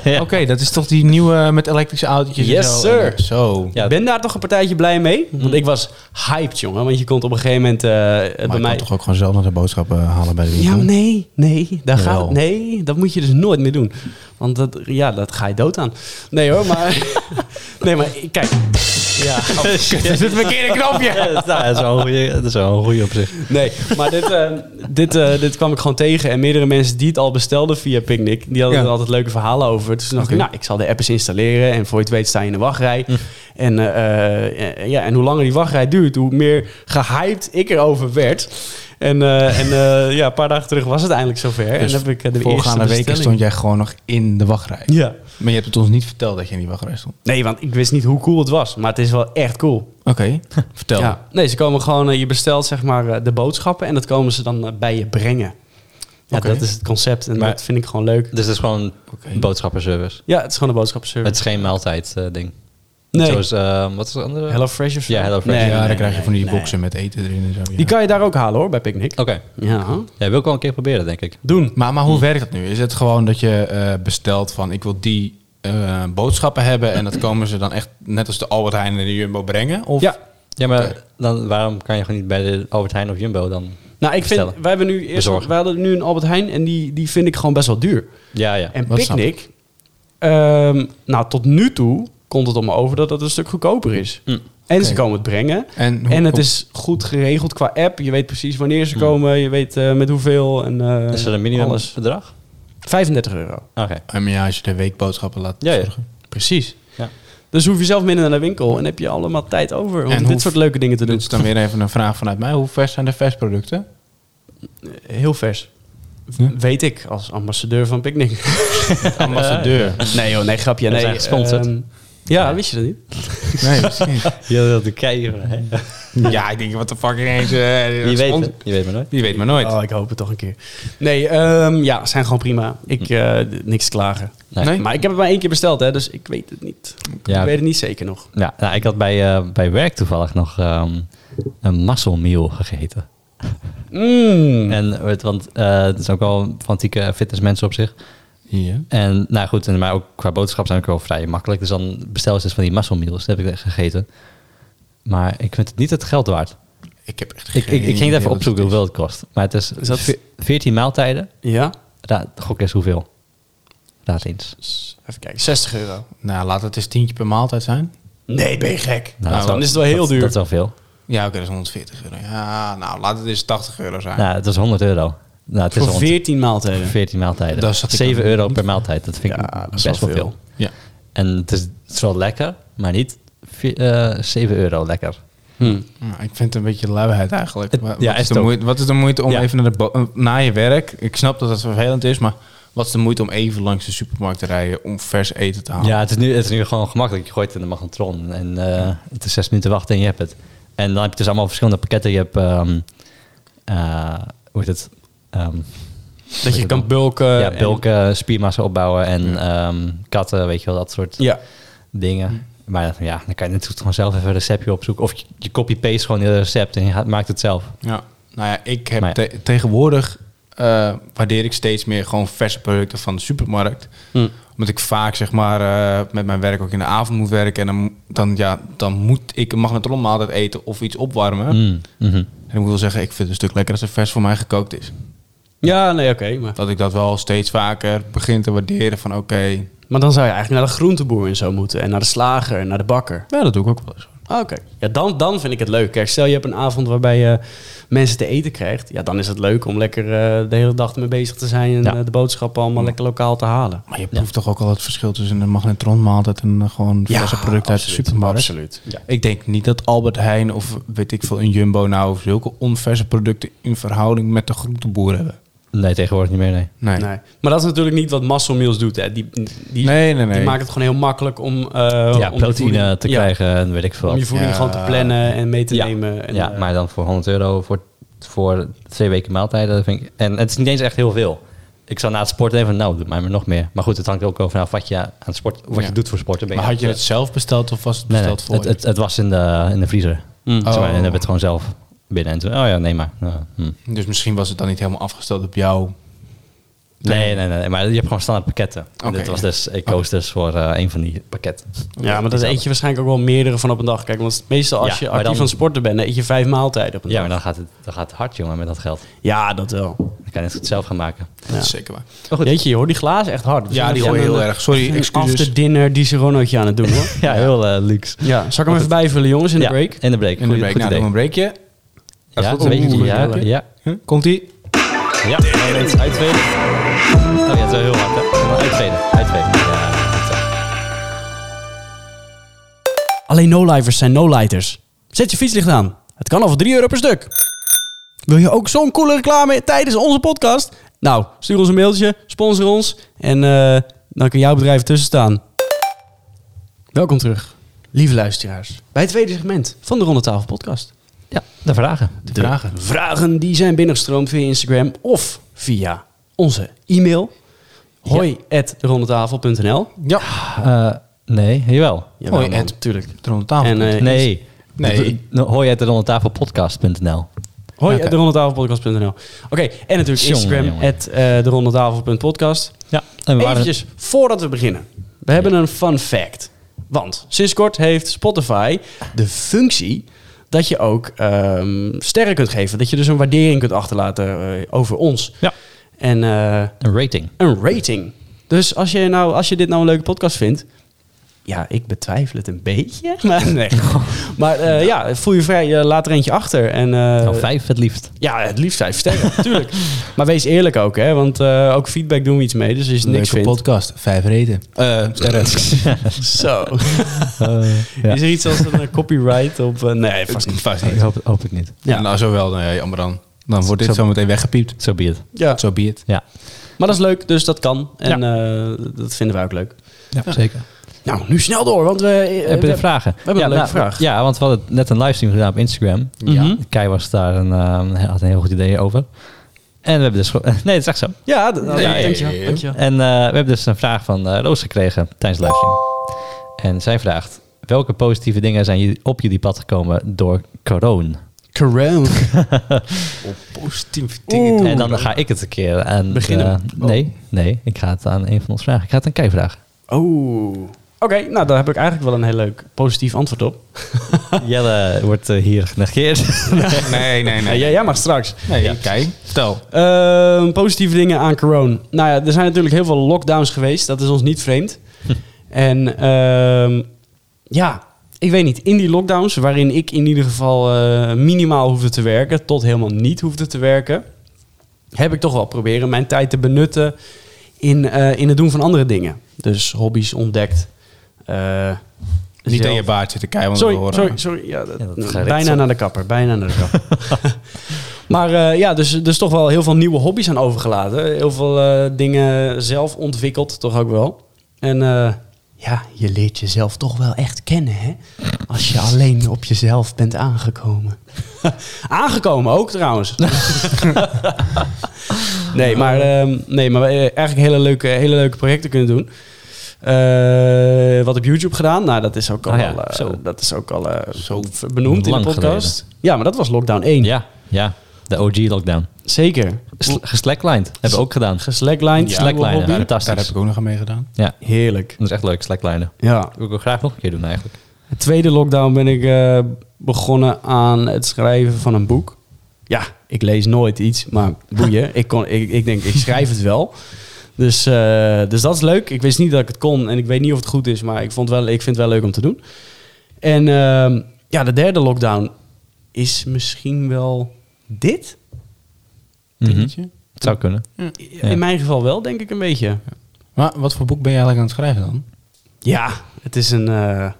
[SPEAKER 1] Ja.
[SPEAKER 3] Oké, dat is toch die nieuwe eh, met elektrische autootjes en
[SPEAKER 2] Yes,
[SPEAKER 3] zo?
[SPEAKER 2] sir.
[SPEAKER 3] En, eh, Zo.
[SPEAKER 1] Ja.
[SPEAKER 2] Ik ben daar toch een partijtje blij mee. Want ik was hyped, jongen. Want je komt op een gegeven moment eh,
[SPEAKER 3] Maar
[SPEAKER 2] bij
[SPEAKER 3] je
[SPEAKER 2] mij...
[SPEAKER 3] kan toch ook gewoon zelf nog de boodschappen eh, halen bij de winkel?
[SPEAKER 2] Ja,
[SPEAKER 3] Dus
[SPEAKER 2] maar nee, nee, daar
[SPEAKER 3] Jawel.
[SPEAKER 2] gaat het- nee, dat moet je dus nooit meer doen. Want dat, ja, dat ga je dood aan. Nee hoor, maar... nee, maar kijk. Ja, oh,
[SPEAKER 3] is het verkeerde knopje.
[SPEAKER 1] Ja, dat is wel een goeie- dat is wel een goede op zich.
[SPEAKER 2] nee, maar dit, eh, dit, eh, dit kwam ik gewoon tegen. En meerdere mensen die het al bestelden via Picnic, die hadden
[SPEAKER 3] Ja.
[SPEAKER 2] er altijd leuke verhalen over. Dus toen dacht ik,
[SPEAKER 3] Oké. Hm.
[SPEAKER 2] nou, ik zal de app eens installeren. En voor je het weet sta je in de wachtrij. En, eh, eh, ja, en hoe langer die wachtrij duurt, hoe meer gehyped ik erover werd. En, eh, en eh, ja, een paar dagen terug was het eindelijk zover.
[SPEAKER 3] Dus
[SPEAKER 2] en heb ik eh, de eerste
[SPEAKER 3] Voorgaande weken
[SPEAKER 2] bestelling.
[SPEAKER 3] stond jij gewoon nog in de wachtrij.
[SPEAKER 2] Ja.
[SPEAKER 3] Maar je hebt het ons niet verteld dat je in die wachtrij stond.
[SPEAKER 2] Nee, want ik wist niet hoe cool het was. Maar het is wel echt cool.
[SPEAKER 3] Oké, vertel.
[SPEAKER 2] Ja. Nee, ze komen gewoon... eh, Je bestelt zeg maar eh, de boodschappen... en dat komen ze dan eh, bij je brengen. Ja,
[SPEAKER 3] Oké.
[SPEAKER 2] dat is het concept. En
[SPEAKER 1] Maar-
[SPEAKER 2] dat vind ik gewoon leuk.
[SPEAKER 1] Dus het is gewoon
[SPEAKER 3] Oké.
[SPEAKER 1] boodschappenservice.
[SPEAKER 2] Ja, het is gewoon een boodschappenservice.
[SPEAKER 1] Het is geen maaltijd eh, ding.
[SPEAKER 2] Nee.
[SPEAKER 1] Zoals, eh, wat is het andere?
[SPEAKER 2] Hello Fresh of zo?
[SPEAKER 1] Ja, Hello Fresh.
[SPEAKER 2] Nee,
[SPEAKER 3] ja,
[SPEAKER 2] nee,
[SPEAKER 3] dan
[SPEAKER 2] nee,
[SPEAKER 3] krijg je
[SPEAKER 2] nee,
[SPEAKER 3] van die
[SPEAKER 2] nee.
[SPEAKER 3] boxen met eten erin en zo. ja.
[SPEAKER 2] Die kan je daar ook halen hoor, bij Picnic.
[SPEAKER 1] Oké.
[SPEAKER 2] Ja.
[SPEAKER 1] Ja, wil ik wel een keer proberen, denk ik.
[SPEAKER 2] Doen.
[SPEAKER 3] Maar, maar hoe werkt dat nu? Is het gewoon dat je eh, bestelt van ik wil die eh, boodschappen hebben en dat komen ze dan echt net als de Albert Heijn en de Jumbo brengen? Of?
[SPEAKER 2] Ja.
[SPEAKER 1] Ja, maar dan, waarom kan je gewoon niet bij de Albert Heijn of Jumbo dan?
[SPEAKER 2] Nou, ik vind...
[SPEAKER 1] Bestellen.
[SPEAKER 2] Wij hebben nu eerst...
[SPEAKER 1] Bezorgen.
[SPEAKER 2] Wij hadden nu een Albert Heijn... en die, die vind ik gewoon best wel duur.
[SPEAKER 1] Ja, ja.
[SPEAKER 2] En
[SPEAKER 3] Dat snap
[SPEAKER 2] Picnic... ehm, nou, tot nu toe komt het om me over dat het een stuk goedkoper is.
[SPEAKER 1] Mm.
[SPEAKER 2] En ze
[SPEAKER 3] Oké.
[SPEAKER 2] komen het brengen.
[SPEAKER 3] En, hoe-
[SPEAKER 2] En het
[SPEAKER 3] hoe-
[SPEAKER 2] is goed geregeld qua app. Je weet precies wanneer ze komen. Je weet eh, met hoeveel. En, eh,
[SPEAKER 1] Is er een minimum
[SPEAKER 2] Alles.
[SPEAKER 1] bedrag?
[SPEAKER 2] 35 euro.
[SPEAKER 1] Oké.
[SPEAKER 3] En maar ja, als je de weekboodschappen laat
[SPEAKER 1] Ja, ja.
[SPEAKER 3] zorgen.
[SPEAKER 2] Precies.
[SPEAKER 1] Ja.
[SPEAKER 2] Dus hoef je zelf minder naar de winkel. En heb je allemaal tijd over om
[SPEAKER 3] En
[SPEAKER 2] dit
[SPEAKER 3] hoe-
[SPEAKER 2] soort leuke dingen te doen.
[SPEAKER 3] Dit is dan weer even een vraag vanuit mij. Hoe vers zijn de versproducten?
[SPEAKER 2] Heel vers.
[SPEAKER 3] Ja.
[SPEAKER 2] Weet ik als ambassadeur van Picnic.
[SPEAKER 3] Ambassadeur.
[SPEAKER 2] Nee joh, nee grapje.
[SPEAKER 1] We
[SPEAKER 2] Nee,
[SPEAKER 1] zijn gesponsord.
[SPEAKER 2] ehm, ja, wist je dat niet?
[SPEAKER 3] Nee, precies.
[SPEAKER 1] Je wilt de keien.
[SPEAKER 3] Ja, ik denk, wat de fuck ineens. eh,
[SPEAKER 1] Je weet
[SPEAKER 3] spons-
[SPEAKER 1] het. Je weet maar nooit.
[SPEAKER 3] Je weet maar nooit.
[SPEAKER 2] Oh, ik hoop het toch een keer. Nee, ehm, ja, zijn gewoon prima. Ik, eh, d- niks te klagen.
[SPEAKER 1] Nee.
[SPEAKER 3] Nee?
[SPEAKER 2] Maar ik heb het maar één keer besteld, hè, dus ik weet het niet.
[SPEAKER 1] Ja.
[SPEAKER 2] Ik weet het niet zeker nog.
[SPEAKER 1] Ja, nou, ik had bij, eh, bij werk toevallig nog ehm, een muscle meal gegeten.
[SPEAKER 2] Mm.
[SPEAKER 1] En, het- want eh, het is ook wel een fanatieke fitnessmensen op zich.
[SPEAKER 3] Hier.
[SPEAKER 1] En nou goed, en, maar ook qua boodschap zijn ook wel vrij makkelijk. Dus dan bestel ze dus van die muscle meals. Dat heb ik gegeten. Maar ik vind het niet het geld waard.
[SPEAKER 3] Ik heb echt
[SPEAKER 1] Ik, ik, ik ging het even opzoeken
[SPEAKER 3] hoeveel.
[SPEAKER 1] hoeveel het kost. Maar het is,
[SPEAKER 2] Is dat-
[SPEAKER 1] ve- 14 maaltijden.
[SPEAKER 2] Ja?
[SPEAKER 1] Raad, gok eens hoeveel. Raad eens.
[SPEAKER 2] Dus even kijken, 60 euro.
[SPEAKER 3] Nou, laat het eens tientje per maaltijd zijn.
[SPEAKER 2] Nee, ben je gek?
[SPEAKER 1] Nou, dat
[SPEAKER 2] dan
[SPEAKER 1] wel-
[SPEAKER 2] is het wel heel
[SPEAKER 1] dat-
[SPEAKER 2] duur.
[SPEAKER 1] Dat is wel veel.
[SPEAKER 3] Ja, oké, dat is 140 euro. Ja, nou, laat het eens 80 euro zijn.
[SPEAKER 1] Nou, het was 100 euro. Nou, het is
[SPEAKER 2] Ah. voor
[SPEAKER 1] 100
[SPEAKER 2] 14 maaltijden.
[SPEAKER 1] 14 maaltijden.
[SPEAKER 3] Daar zat ik
[SPEAKER 1] 7
[SPEAKER 3] ook-
[SPEAKER 1] euro per maaltijd. Dat vind ik
[SPEAKER 2] Ja, dat is
[SPEAKER 1] best
[SPEAKER 2] wel
[SPEAKER 1] wel veel.
[SPEAKER 2] veel.
[SPEAKER 3] Ja.
[SPEAKER 1] En het is, het is wel lekker, maar niet vi- eh 7 euro lekker.
[SPEAKER 2] Hm.
[SPEAKER 3] Nou, ik vind het een beetje luiheid eigenlijk.
[SPEAKER 1] Het-
[SPEAKER 3] Wa-
[SPEAKER 1] ja,
[SPEAKER 3] wat,
[SPEAKER 1] is
[SPEAKER 3] is
[SPEAKER 1] het
[SPEAKER 3] de
[SPEAKER 1] ook.
[SPEAKER 3] moeite, wat is de moeite om
[SPEAKER 1] Ja.
[SPEAKER 3] even naar, de bo- eh, naar je werk? Ik snap dat het vervelend is, maar wat is de moeite om even langs de supermarkt te rijden om vers eten te
[SPEAKER 2] Ah.
[SPEAKER 3] halen?
[SPEAKER 1] Ja, het is, nu, het is nu gewoon gemakkelijk. Je gooit het in de magnetron en eh, het is 6 minuten wachten en je hebt het. En dan heb je dus allemaal verschillende pakketten. Je hebt, ehm, eh, hoe heet het? Ehm,
[SPEAKER 2] Dat je kan bulken.
[SPEAKER 1] ja,
[SPEAKER 2] en-
[SPEAKER 1] bulken, spiermassa opbouwen en ehm, katten, weet je wel, dat soort
[SPEAKER 2] Ja. Hm.
[SPEAKER 1] dingen. Maar ja, dan kan je natuurlijk gewoon zelf even een receptje opzoeken. Of je, je copy-paste gewoon het recept en je gaat, maakt het zelf.
[SPEAKER 3] Ja. Nou ja, ik heb
[SPEAKER 1] Maar ja.
[SPEAKER 3] te- tegenwoordig eh, waardeer ik steeds meer gewoon verse producten van de supermarkt.
[SPEAKER 2] Hm.
[SPEAKER 3] Omdat ik vaak zeg maar eh, met mijn werk ook in de avond moet werken. En dan, dan, ja, dan moet ik een magnetron maaltijd eten of iets opwarmen.
[SPEAKER 1] Mm, mhm.
[SPEAKER 3] En ik moet wel zeggen, ik vind het een stuk lekker als het vers voor mij gekookt is.
[SPEAKER 2] Ja, nee, oké. maar,
[SPEAKER 3] Dat ik dat wel steeds vaker begin te waarderen van oké.
[SPEAKER 2] maar dan zou je eigenlijk naar de groenteboer en zo moeten. En naar de slager en naar de bakker.
[SPEAKER 3] Ja, dat doe ik ook wel eens.
[SPEAKER 2] Ah, Oké. Ja, dan, dan vind ik het leuk. Kijk, stel je hebt een avond waarbij je mensen te eten krijgt. Ja, dan is het leuk om lekker eh, de hele dag ermee bezig te zijn. En
[SPEAKER 1] Ja.
[SPEAKER 2] eh, de boodschappen allemaal lekker lokaal te halen.
[SPEAKER 3] Maar je proeft toch ook al het verschil tussen een magnetronmaaltijd en eh, gewoon verse producten uit de
[SPEAKER 2] absoluut,
[SPEAKER 3] supermarkt.
[SPEAKER 2] Absoluut. Ja.
[SPEAKER 3] Ik denk niet dat Albert Heijn of weet ik veel, een Jumbo nou zulke onverse producten in verhouding met de groenteboer hebben.
[SPEAKER 1] Nee, tegenwoordig niet meer, nee.
[SPEAKER 3] Nee. Nee,
[SPEAKER 2] Nee. Maar dat is natuurlijk niet wat Muscle Meals doet. Hè. Die, die,
[SPEAKER 3] nee, nee.
[SPEAKER 2] die maakt het gewoon heel makkelijk om... eh, om
[SPEAKER 1] ja,
[SPEAKER 2] je voeding-
[SPEAKER 1] proteïne te
[SPEAKER 2] ja,
[SPEAKER 1] krijgen en weet ik veel.
[SPEAKER 2] om je voeding
[SPEAKER 3] Ja.
[SPEAKER 2] gewoon te plannen en mee te
[SPEAKER 1] Ja.
[SPEAKER 2] nemen. En,
[SPEAKER 1] ja,
[SPEAKER 2] eh,
[SPEAKER 1] maar dan voor 100 euro voor, voor twee weken maaltijden. dat Vind ik, en het is niet eens echt heel veel. Ik zou na het sporten even, nou, doe mij maar nog meer. Maar goed, het hangt ook over nou, wat je aan sport, wat
[SPEAKER 3] Ja.
[SPEAKER 1] je dus doet voor sporten. Ben
[SPEAKER 3] Maar had je het zelf besteld of was het
[SPEAKER 1] Nee,
[SPEAKER 3] besteld
[SPEAKER 1] nee,
[SPEAKER 3] voor
[SPEAKER 1] het,
[SPEAKER 3] je?
[SPEAKER 1] het, het was in de, in de vriezer.
[SPEAKER 2] Mm.
[SPEAKER 1] Zeg maar,
[SPEAKER 3] Oh.
[SPEAKER 1] en dan hebben we het gewoon zelf binnen. En toen, oh ja, nee maar. Ja, hm.
[SPEAKER 3] Dus misschien was het dan niet helemaal afgesteld op jou.
[SPEAKER 1] nee, nee, nee, nee, maar je hebt gewoon standaard pakketten. En
[SPEAKER 3] Oké,
[SPEAKER 1] dit was
[SPEAKER 3] ja.
[SPEAKER 1] dus, ik koos dus voor eh, een van die pakketten.
[SPEAKER 2] Ja, maar dat eet je waarschijnlijk ook wel meerdere van op een dag. Kijk, want meestal als
[SPEAKER 1] Ja,
[SPEAKER 2] je
[SPEAKER 1] maar
[SPEAKER 2] actief
[SPEAKER 1] dan-
[SPEAKER 2] van sporten bent, dan eet je vijf maaltijden op een
[SPEAKER 1] Ja,
[SPEAKER 2] dag.
[SPEAKER 1] maar dan gaat, het, dan gaat het hard, jongen, met dat geld.
[SPEAKER 2] Ja, dat wel.
[SPEAKER 1] Dan kan je het goed zelf gaan maken.
[SPEAKER 3] Dat
[SPEAKER 2] Ja.
[SPEAKER 3] is zeker waar.
[SPEAKER 1] Maar goed,
[SPEAKER 2] Jeetje, je hoort die glazen echt hard. We
[SPEAKER 3] Ja,
[SPEAKER 2] zijn
[SPEAKER 3] die
[SPEAKER 2] even
[SPEAKER 3] hoor je
[SPEAKER 2] een-
[SPEAKER 3] heel erg. Sorry,
[SPEAKER 2] een
[SPEAKER 3] excuses.
[SPEAKER 2] after dinner die Seronootje aan het doen hoor.
[SPEAKER 1] ja, heel eh, luxe.
[SPEAKER 2] ja, zal ik hem even bijvullen jongens in de
[SPEAKER 1] Ja,
[SPEAKER 2] break?
[SPEAKER 1] In de break.
[SPEAKER 3] In de
[SPEAKER 1] Goed-
[SPEAKER 3] break.
[SPEAKER 1] goed
[SPEAKER 3] Nou,
[SPEAKER 1] idee.
[SPEAKER 3] dan een breakje.
[SPEAKER 1] Ja,
[SPEAKER 3] Als
[SPEAKER 1] dat
[SPEAKER 3] we-
[SPEAKER 1] weet je.
[SPEAKER 3] Oeh,
[SPEAKER 1] Ja,
[SPEAKER 3] breakje.
[SPEAKER 1] ja.
[SPEAKER 3] Huh? Komt-ie?
[SPEAKER 1] Ja, uit uitveden. Oh ja, dat is wel heel hard, hè? Uitveden, uitveden. Ja, goed zo.
[SPEAKER 2] Alleen no-livers zijn no-lighters. Zet je fietslicht aan. Het kan al voor 3 euro per stuk. Wil je ook zo'n coole reclame tijdens onze podcast? Nou, stuur ons een mailtje, sponsor ons en eh, dan kan jouw bedrijf tussen staan. Welkom terug, lieve luisteraars, bij het tweede segment van de Ronde Tafel Podcast.
[SPEAKER 1] ja, de vragen.
[SPEAKER 3] De vragen.
[SPEAKER 2] Vragen die zijn binnengestroomd via Instagram of via onze e-mail. Hoi at derondetafel.nl.
[SPEAKER 3] Ja.
[SPEAKER 1] Eh, nee, jawel.
[SPEAKER 2] Jawel,
[SPEAKER 3] Hoi,
[SPEAKER 2] man,
[SPEAKER 3] at.
[SPEAKER 2] natuurlijk.
[SPEAKER 3] Rond de tafel.
[SPEAKER 2] En, eh,
[SPEAKER 1] Nee.
[SPEAKER 3] Nee.
[SPEAKER 1] D- d- Hoi het onder tafel podcast.nl.
[SPEAKER 2] Hoi,
[SPEAKER 3] Oké.
[SPEAKER 2] de rondetafelpodcast.nl. Oké, en natuurlijk
[SPEAKER 1] Jongen,
[SPEAKER 2] Instagram,
[SPEAKER 1] jongen.
[SPEAKER 2] at eh, derondetafel.podcast.
[SPEAKER 1] Ja, en we waren-
[SPEAKER 2] Eventjes, voordat we beginnen. We hebben een fun fact. Want sinds kort heeft Spotify de functie dat je ook ehm, sterren kunt geven. Dat je dus een waardering kunt achterlaten eh, over ons.
[SPEAKER 1] Ja.
[SPEAKER 2] En eh,
[SPEAKER 1] een rating.
[SPEAKER 2] een rating. Dus als je, nou, als je dit nou een leuke podcast vindt. Ja, ik betwijfel het een beetje. Maar, nee. maar eh, ja, voel je vrij, eh, laat er eentje achter. En, eh,
[SPEAKER 1] Nou, vijf het liefst.
[SPEAKER 2] ja, het liefst vijf sterren, natuurlijk. Maar wees eerlijk ook, hè? Want eh, ook feedback doen we iets mee. Dus als je niks
[SPEAKER 3] Leuke
[SPEAKER 2] vindt...
[SPEAKER 3] podcast. Vijf reden. Eh, sterren.
[SPEAKER 2] Zo.
[SPEAKER 1] Eh, ja.
[SPEAKER 2] Is er iets als een eh, copyright op... eh, nee, vast niet.
[SPEAKER 3] Vast
[SPEAKER 1] Ik
[SPEAKER 3] niet.
[SPEAKER 1] hoop, hoop ik niet.
[SPEAKER 2] Ja.
[SPEAKER 3] Nou, zo wel. Nou ja, jammer dan. Dan wordt dit
[SPEAKER 1] Zo-
[SPEAKER 3] zo meteen weggepiept.
[SPEAKER 1] Zo be it.
[SPEAKER 2] Ja.
[SPEAKER 3] Zo be it.
[SPEAKER 1] Ja,
[SPEAKER 2] Maar dat is leuk, dus dat kan. En eh, dat vinden we ook leuk.
[SPEAKER 1] ja zeker.
[SPEAKER 2] Nou, nu snel door, want we... eh,
[SPEAKER 1] Heb je
[SPEAKER 2] we-
[SPEAKER 1] de vragen?
[SPEAKER 2] hebben een
[SPEAKER 1] ja,
[SPEAKER 2] leuke
[SPEAKER 1] nou,
[SPEAKER 2] vraag.
[SPEAKER 1] Ja, want we hadden net een livestream gedaan op Instagram.
[SPEAKER 2] Mhm.
[SPEAKER 1] Kai was daar en eh, had een heel goed idee over. En we hebben dus... ge- Nee, dat is echt zo.
[SPEAKER 2] Ja, d- nou,
[SPEAKER 3] Nee.
[SPEAKER 2] dankjewel. dankjewel.
[SPEAKER 1] En eh, we hebben dus een vraag van eh, Roos gekregen tijdens de livestream. En zij vraagt... Welke positieve dingen zijn jullie- op jullie pad gekomen door corona?
[SPEAKER 2] Corona.
[SPEAKER 3] Positief.
[SPEAKER 2] Oeh.
[SPEAKER 1] En dan ga ik het een keer aan...
[SPEAKER 2] Beginnen.
[SPEAKER 1] eh, nee, nee. Ik ga het aan een van ons vragen. Ik ga het aan Kai vragen.
[SPEAKER 2] Oeh. Oké, nou, daar heb ik eigenlijk wel een heel leuk positief antwoord op.
[SPEAKER 1] Jelle wordt eh, hier genegeerd.
[SPEAKER 3] Nee, nee,
[SPEAKER 2] Ja,
[SPEAKER 3] nee.
[SPEAKER 2] jij jij mag straks.
[SPEAKER 3] Nee, kijk. Vertel.
[SPEAKER 2] Ehm, positieve dingen aan corona. Nou ja, er zijn natuurlijk heel veel lockdowns geweest. Dat is ons niet vreemd. en ehm, ja, ik weet niet. In die lockdowns, waarin ik in ieder geval eh, minimaal hoefde te werken... tot helemaal niet hoefde te werken... heb ik toch wel proberen mijn tijd te benutten... in, eh, in het doen van andere dingen. Dus hobby's ontdekt. eh,
[SPEAKER 3] Niet aan
[SPEAKER 2] zelf-
[SPEAKER 3] je baard zitten kijken, want we
[SPEAKER 2] Sorry,
[SPEAKER 3] horen.
[SPEAKER 2] sorry, sorry. Ja, dat-
[SPEAKER 1] Ja, dat
[SPEAKER 2] nou,
[SPEAKER 1] gerekt
[SPEAKER 2] bijna
[SPEAKER 1] zo.
[SPEAKER 2] naar de kapper, bijna naar de kapper. maar eh, ja, dus, dus toch wel heel veel nieuwe hobby's aan overgelaten. Heel veel eh, dingen zelf ontwikkeld, toch ook wel. En eh, ja, je leert jezelf toch wel echt kennen, hè? Als je alleen op jezelf bent aangekomen. aangekomen ook trouwens. nee, maar, ehm, nee, maar eh, eigenlijk hele leuke, hele leuke projecten kunnen doen. Eh, wat op YouTube gedaan. Nou, dat is ook al,
[SPEAKER 1] Ah ja,
[SPEAKER 2] wel, eh,
[SPEAKER 1] zo.
[SPEAKER 2] dat is ook al eh, benoemd in de
[SPEAKER 1] lang
[SPEAKER 2] podcast. Ja, maar dat was lockdown 1.
[SPEAKER 1] ja, ja. De OG-lockdown.
[SPEAKER 2] Zeker.
[SPEAKER 1] Geslacklined. Hebben we ook gedaan.
[SPEAKER 2] Geslacklined.
[SPEAKER 1] Ja, slackline, ja. Fantastisch.
[SPEAKER 3] Daar heb ik ook nog aan meegedaan.
[SPEAKER 1] Ja,
[SPEAKER 2] Heerlijk.
[SPEAKER 1] dat is echt leuk. Slacklinen.
[SPEAKER 2] Ja.
[SPEAKER 1] Dat wil ik ook graag nog een keer doen eigenlijk.
[SPEAKER 2] De tweede lockdown ben ik eh, begonnen aan het schrijven van een boek. ja, ik lees nooit iets, maar boeien. ik, kon, ik, ik denk, ik schrijf het wel. Dus, eh, dus dat is leuk. Ik wist niet dat ik het kon en ik weet niet of het goed is, maar ik, vond wel, ik vind het wel leuk om te doen. En ehm, ja, de derde lockdown is misschien wel dit.
[SPEAKER 1] Mhm.
[SPEAKER 3] Dingetje.
[SPEAKER 1] Het zou kunnen. Ja.
[SPEAKER 2] In mijn geval wel, denk ik een beetje.
[SPEAKER 3] Maar wat voor boek ben je eigenlijk aan het schrijven dan?
[SPEAKER 2] Ja, het is een, eh,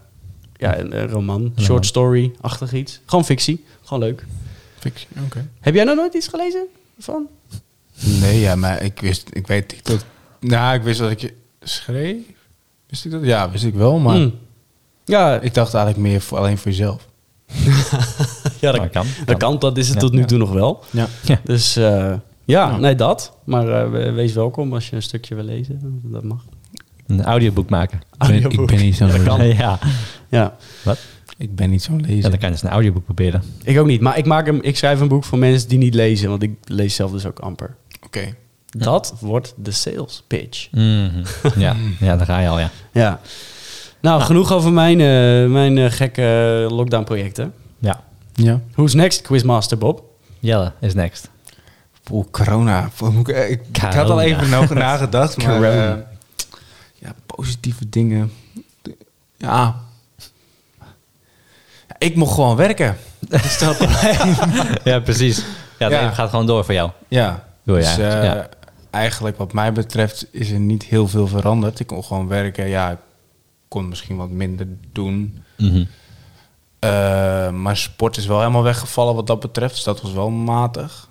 [SPEAKER 2] ja, een, eh, roman, short story-achtig iets. Gewoon fictie, gewoon leuk.
[SPEAKER 3] Fictie, oké.
[SPEAKER 2] Heb jij nou nooit iets gelezen van?
[SPEAKER 3] Nee, ja, maar ik wist, ik weet niet dat... Nou, ik wist dat ik je schreef. Wist ik dat? Ja, wist ik wel, maar
[SPEAKER 2] Mm. Ja,
[SPEAKER 3] ik dacht eigenlijk meer voor, alleen voor jezelf.
[SPEAKER 2] ja, dat,
[SPEAKER 1] Maar kan.
[SPEAKER 2] dat kan, dat is het
[SPEAKER 1] Ja,
[SPEAKER 2] tot nu
[SPEAKER 1] ja.
[SPEAKER 2] toe nog wel.
[SPEAKER 3] Ja.
[SPEAKER 1] Ja.
[SPEAKER 2] Dus eh, ja,
[SPEAKER 3] Nou.
[SPEAKER 2] nee, dat. Maar eh, we- wees welkom als je een stukje wil lezen. Dat mag.
[SPEAKER 1] Een audioboek maken.
[SPEAKER 3] Ik ben, ik ben niet zo'n lezer.
[SPEAKER 1] ja.
[SPEAKER 2] Ja,
[SPEAKER 3] Ik ben niet zo'n
[SPEAKER 1] ja,
[SPEAKER 3] lezer.
[SPEAKER 1] dan kan je dus een audioboek proberen.
[SPEAKER 2] ik ook niet. Maar ik, maak hem, ik schrijf een boek voor mensen die niet lezen, want ik lees zelf dus ook amper.
[SPEAKER 3] Oké.
[SPEAKER 2] Dat wordt de sales pitch.
[SPEAKER 1] Mhm. ja. ja, daar ga je al, ja.
[SPEAKER 2] Ja. Nou, genoeg over mijn, eh, mijn eh, gekke lockdown projecten.
[SPEAKER 1] Ja.
[SPEAKER 3] Ja.
[SPEAKER 2] Who's next, Quizmaster Bob?
[SPEAKER 1] Jelle is next.
[SPEAKER 3] Oeh, corona. Oeh, moet Ik, eh, ik, ik had al
[SPEAKER 1] Corona.
[SPEAKER 3] even over nagedacht, maar...
[SPEAKER 2] Corona.
[SPEAKER 3] eh, ja, positieve dingen. Ja. Ik mocht gewoon werken. Dat is dat probleem.
[SPEAKER 1] ja, precies. Ja, het
[SPEAKER 3] Ja.
[SPEAKER 1] leven gaat gewoon door voor jou.
[SPEAKER 3] Ja.
[SPEAKER 1] Wil je
[SPEAKER 3] dus,
[SPEAKER 1] eigenlijk,
[SPEAKER 3] eh,
[SPEAKER 1] ja.
[SPEAKER 3] eigenlijk wat mij betreft is er niet heel veel veranderd. Ik kon gewoon werken. Ja, ik kon misschien wat minder doen.
[SPEAKER 1] Mhm.
[SPEAKER 3] Eh, maar sport is wel helemaal weggevallen wat dat betreft. Dus dat was wel matig.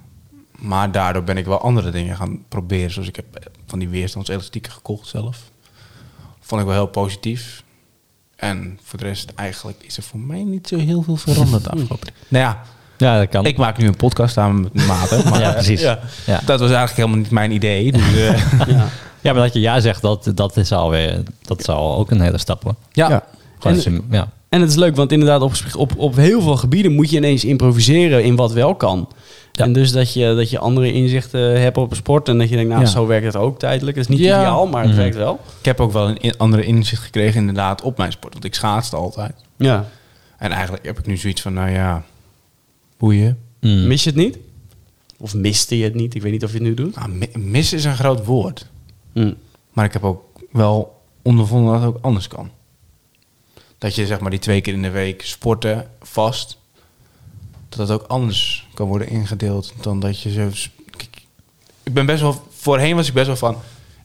[SPEAKER 3] Maar daardoor ben ik wel andere dingen gaan proberen. Zoals ik heb eh, van die weerstandselastieken gekocht zelf. Vond ik wel heel positief. En voor de rest eigenlijk is er voor mij niet zo heel veel veranderd de afgelopen. Nou ja,
[SPEAKER 1] Ja, dat kan.
[SPEAKER 3] ik maak nu een podcast samen met Maarten. Maar
[SPEAKER 1] ja,
[SPEAKER 3] eh,
[SPEAKER 1] precies.
[SPEAKER 2] ja.
[SPEAKER 1] Ja. Ja.
[SPEAKER 3] dat was eigenlijk helemaal niet mijn idee. Dus, eh,
[SPEAKER 2] Ja.
[SPEAKER 1] maar dat je ja zegt, dat, dat is alweer... Dat is al ook een hele stap, hoor.
[SPEAKER 3] ja.
[SPEAKER 2] Ja.
[SPEAKER 1] Gewoon als
[SPEAKER 2] En-
[SPEAKER 1] je- ja.
[SPEAKER 2] En het is leuk, want inderdaad, op, op, op heel veel gebieden moet je ineens improviseren in wat wel kan.
[SPEAKER 1] Ja.
[SPEAKER 2] En dus dat je, dat je andere inzichten eh, hebt op sport en dat je denkt, nou,
[SPEAKER 3] Ja.
[SPEAKER 2] zo werkt het ook tijdelijk. Dat is niet
[SPEAKER 3] Ja.
[SPEAKER 2] ideaal, maar het
[SPEAKER 1] Mhm.
[SPEAKER 2] werkt wel.
[SPEAKER 3] Ik heb ook wel een in- andere inzicht gekregen inderdaad op mijn sport. Want ik schaatste altijd.
[SPEAKER 2] Ja.
[SPEAKER 3] En eigenlijk heb ik nu zoiets van, nou ja, boeien.
[SPEAKER 1] Mm.
[SPEAKER 2] Mis je het niet? Of miste je het niet? Ik weet niet of je het nu doet.
[SPEAKER 3] Nou, mi- mis is een groot woord.
[SPEAKER 2] Hm.
[SPEAKER 3] Maar ik heb ook wel ondervonden dat het ook anders kan. Dat je zeg maar die twee keer in de week sporten vast. Dat dat ook anders kan worden ingedeeld dan dat je zo. Kijk, Ik ben best wel. Voorheen was ik best wel van.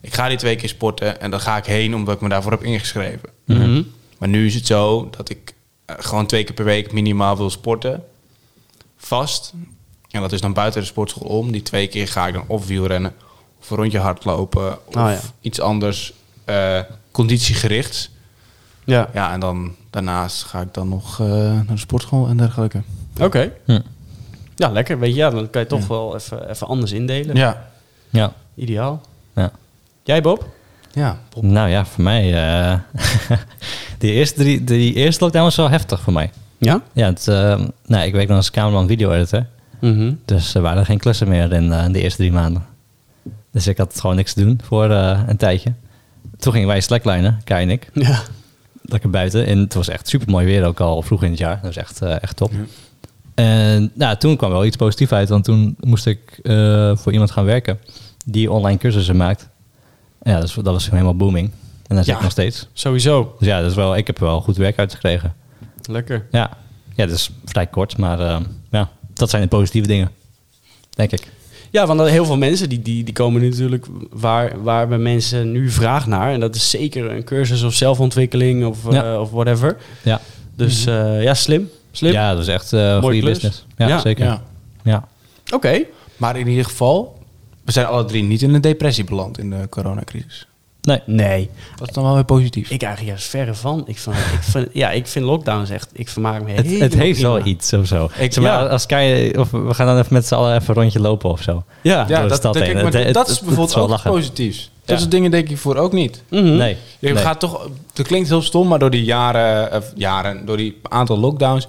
[SPEAKER 3] Ik ga die twee keer sporten en dan ga ik heen omdat ik me daarvoor heb ingeschreven.
[SPEAKER 2] Mhm.
[SPEAKER 3] Maar nu is het zo dat ik eh, gewoon twee keer per week minimaal wil sporten. Vast. En dat is dan buiten de sportschool om. Die twee keer ga ik dan of wielrennen, of een rondje hardlopen, of
[SPEAKER 2] Ah, ja.
[SPEAKER 3] iets anders eh, conditiegericht.
[SPEAKER 2] Ja,
[SPEAKER 3] Ja, en dan daarnaast ga ik dan nog eh, naar de sportschool en dergelijke.
[SPEAKER 2] oké.
[SPEAKER 1] Hm.
[SPEAKER 2] Ja, lekker. Weet je, ja, dan kan je toch wel even, even anders indelen.
[SPEAKER 3] Ja.
[SPEAKER 1] Ja.
[SPEAKER 2] Ideaal.
[SPEAKER 1] ja.
[SPEAKER 2] Jij, Bob?
[SPEAKER 3] Ja.
[SPEAKER 1] Nou ja, voor mij... eh, die, eerste drie, die eerste lockdown was wel heftig voor mij.
[SPEAKER 2] Ja?
[SPEAKER 1] Ja, het, eh, nou, ik werk nog als cameraman video-editor.
[SPEAKER 2] Mhm.
[SPEAKER 1] Dus er waren geen klussen meer in, eh, in de eerste drie maanden. Dus ik had gewoon niks te doen voor eh, een tijdje. Toen gingen wij slacklinen, Kai en ik.
[SPEAKER 2] Ja.
[SPEAKER 1] Lekker buiten. En het was echt super mooi weer ook al vroeg in het jaar. Dat was echt, eh, echt top. En nou, toen kwam wel iets positiefs uit. Want toen moest ik eh, voor iemand gaan werken die online cursussen maakt. En Ja, dat, is, dat was helemaal booming. En dat zit
[SPEAKER 2] Ja.
[SPEAKER 1] ik nog steeds.
[SPEAKER 2] Sowieso.
[SPEAKER 1] Dus ja, dat is wel, ik heb er wel goed werk uitgekregen.
[SPEAKER 2] Lekker.
[SPEAKER 1] Ja, ja dat is vrij kort. Maar eh, ja, dat zijn de positieve dingen. Denk ik.
[SPEAKER 2] Ja, want heel veel mensen die, die, die komen nu natuurlijk waar, waar bij mensen nu vraag naar. En dat is zeker een cursus of zelfontwikkeling of, eh,
[SPEAKER 1] Ja.
[SPEAKER 2] of whatever.
[SPEAKER 1] Ja.
[SPEAKER 2] Dus eh, ja, slim. Slim.
[SPEAKER 1] Ja, dat is echt eh goede
[SPEAKER 2] klus.
[SPEAKER 1] business. Ja,
[SPEAKER 2] Ja.
[SPEAKER 1] zeker. Ja.
[SPEAKER 3] Ja.
[SPEAKER 2] Oké.
[SPEAKER 3] Maar in ieder geval, we zijn alle drie niet in een depressie beland in de coronacrisis.
[SPEAKER 1] Nee.
[SPEAKER 2] Nee,
[SPEAKER 3] Dat is dan wel weer positief.
[SPEAKER 2] ik eigenlijk juist verre van. Ik, van, ik vind, ja, ik vind lockdowns echt, ik vermaak me
[SPEAKER 1] Het, het
[SPEAKER 2] helemaal
[SPEAKER 1] heeft wel
[SPEAKER 2] prima.
[SPEAKER 1] iets of zo.
[SPEAKER 3] Ik-
[SPEAKER 1] Ik, zeg maar,
[SPEAKER 2] ja.
[SPEAKER 1] als Kai, of we gaan dan even met z'n allen even een rondje lopen of zo.
[SPEAKER 2] Ja.
[SPEAKER 1] door
[SPEAKER 3] ja,
[SPEAKER 1] de
[SPEAKER 3] dat,
[SPEAKER 1] stad
[SPEAKER 3] denk
[SPEAKER 1] heen.
[SPEAKER 3] ik, maar
[SPEAKER 1] Het- het-
[SPEAKER 3] dat is
[SPEAKER 1] het- het
[SPEAKER 3] bijvoorbeeld
[SPEAKER 1] is wel
[SPEAKER 3] ook
[SPEAKER 1] lachen.
[SPEAKER 3] positief.
[SPEAKER 1] Ja.
[SPEAKER 3] Dat soort dingen denk ik voor ook niet.
[SPEAKER 2] Mhm.
[SPEAKER 1] Nee.
[SPEAKER 3] Je
[SPEAKER 1] nee.
[SPEAKER 3] gaat toch, dat klinkt heel stom, maar door die jaren, eh, jaren door die aantal lockdowns,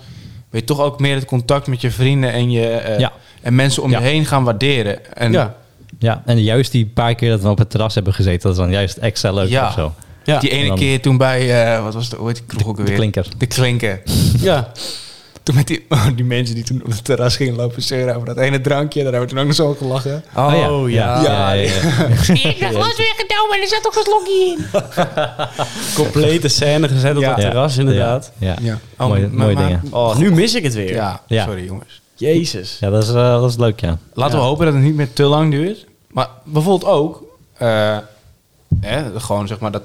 [SPEAKER 3] weet je toch ook meer het contact met je vrienden en je eh,
[SPEAKER 1] Ja.
[SPEAKER 3] en mensen om
[SPEAKER 1] Ja.
[SPEAKER 3] je heen gaan waarderen. En
[SPEAKER 2] Ja.
[SPEAKER 1] Ja, en juist die paar keer dat we op het terras hebben gezeten, dat is dan juist extra leuk
[SPEAKER 3] Ja.
[SPEAKER 1] of zo.
[SPEAKER 2] Ja.
[SPEAKER 3] die ene
[SPEAKER 1] En dan-
[SPEAKER 3] keer toen bij, eh, wat was de ooit kroeg ook
[SPEAKER 1] De
[SPEAKER 3] weer?
[SPEAKER 1] Klinker.
[SPEAKER 3] De klinker.
[SPEAKER 2] ja.
[SPEAKER 3] Toen met die, oh, die mensen die toen op het terras gingen lopen zeuren over dat ene drankje. Daar hebben we toen ook nog zo om gelachen.
[SPEAKER 2] Oh, ja.
[SPEAKER 1] ja, ja.
[SPEAKER 4] Ik heb glas weggenomen en er zat toch een slokje in.
[SPEAKER 2] Complete scène gezet op
[SPEAKER 3] Ja.
[SPEAKER 2] het terras, inderdaad.
[SPEAKER 1] Ja.
[SPEAKER 3] Ja.
[SPEAKER 1] Oh, Mooie-
[SPEAKER 3] maar-
[SPEAKER 1] mooie
[SPEAKER 3] maar-
[SPEAKER 1] dingen.
[SPEAKER 2] Oh, nu mis ik het weer.
[SPEAKER 3] Ja,
[SPEAKER 1] Ja.
[SPEAKER 3] sorry jongens.
[SPEAKER 2] Jezus.
[SPEAKER 1] Ja, dat is, eh, dat is leuk, ja.
[SPEAKER 3] Laten
[SPEAKER 2] Ja.
[SPEAKER 3] we hopen dat het niet meer te lang duurt. Maar bijvoorbeeld ook, eh, hè, gewoon zeg maar dat,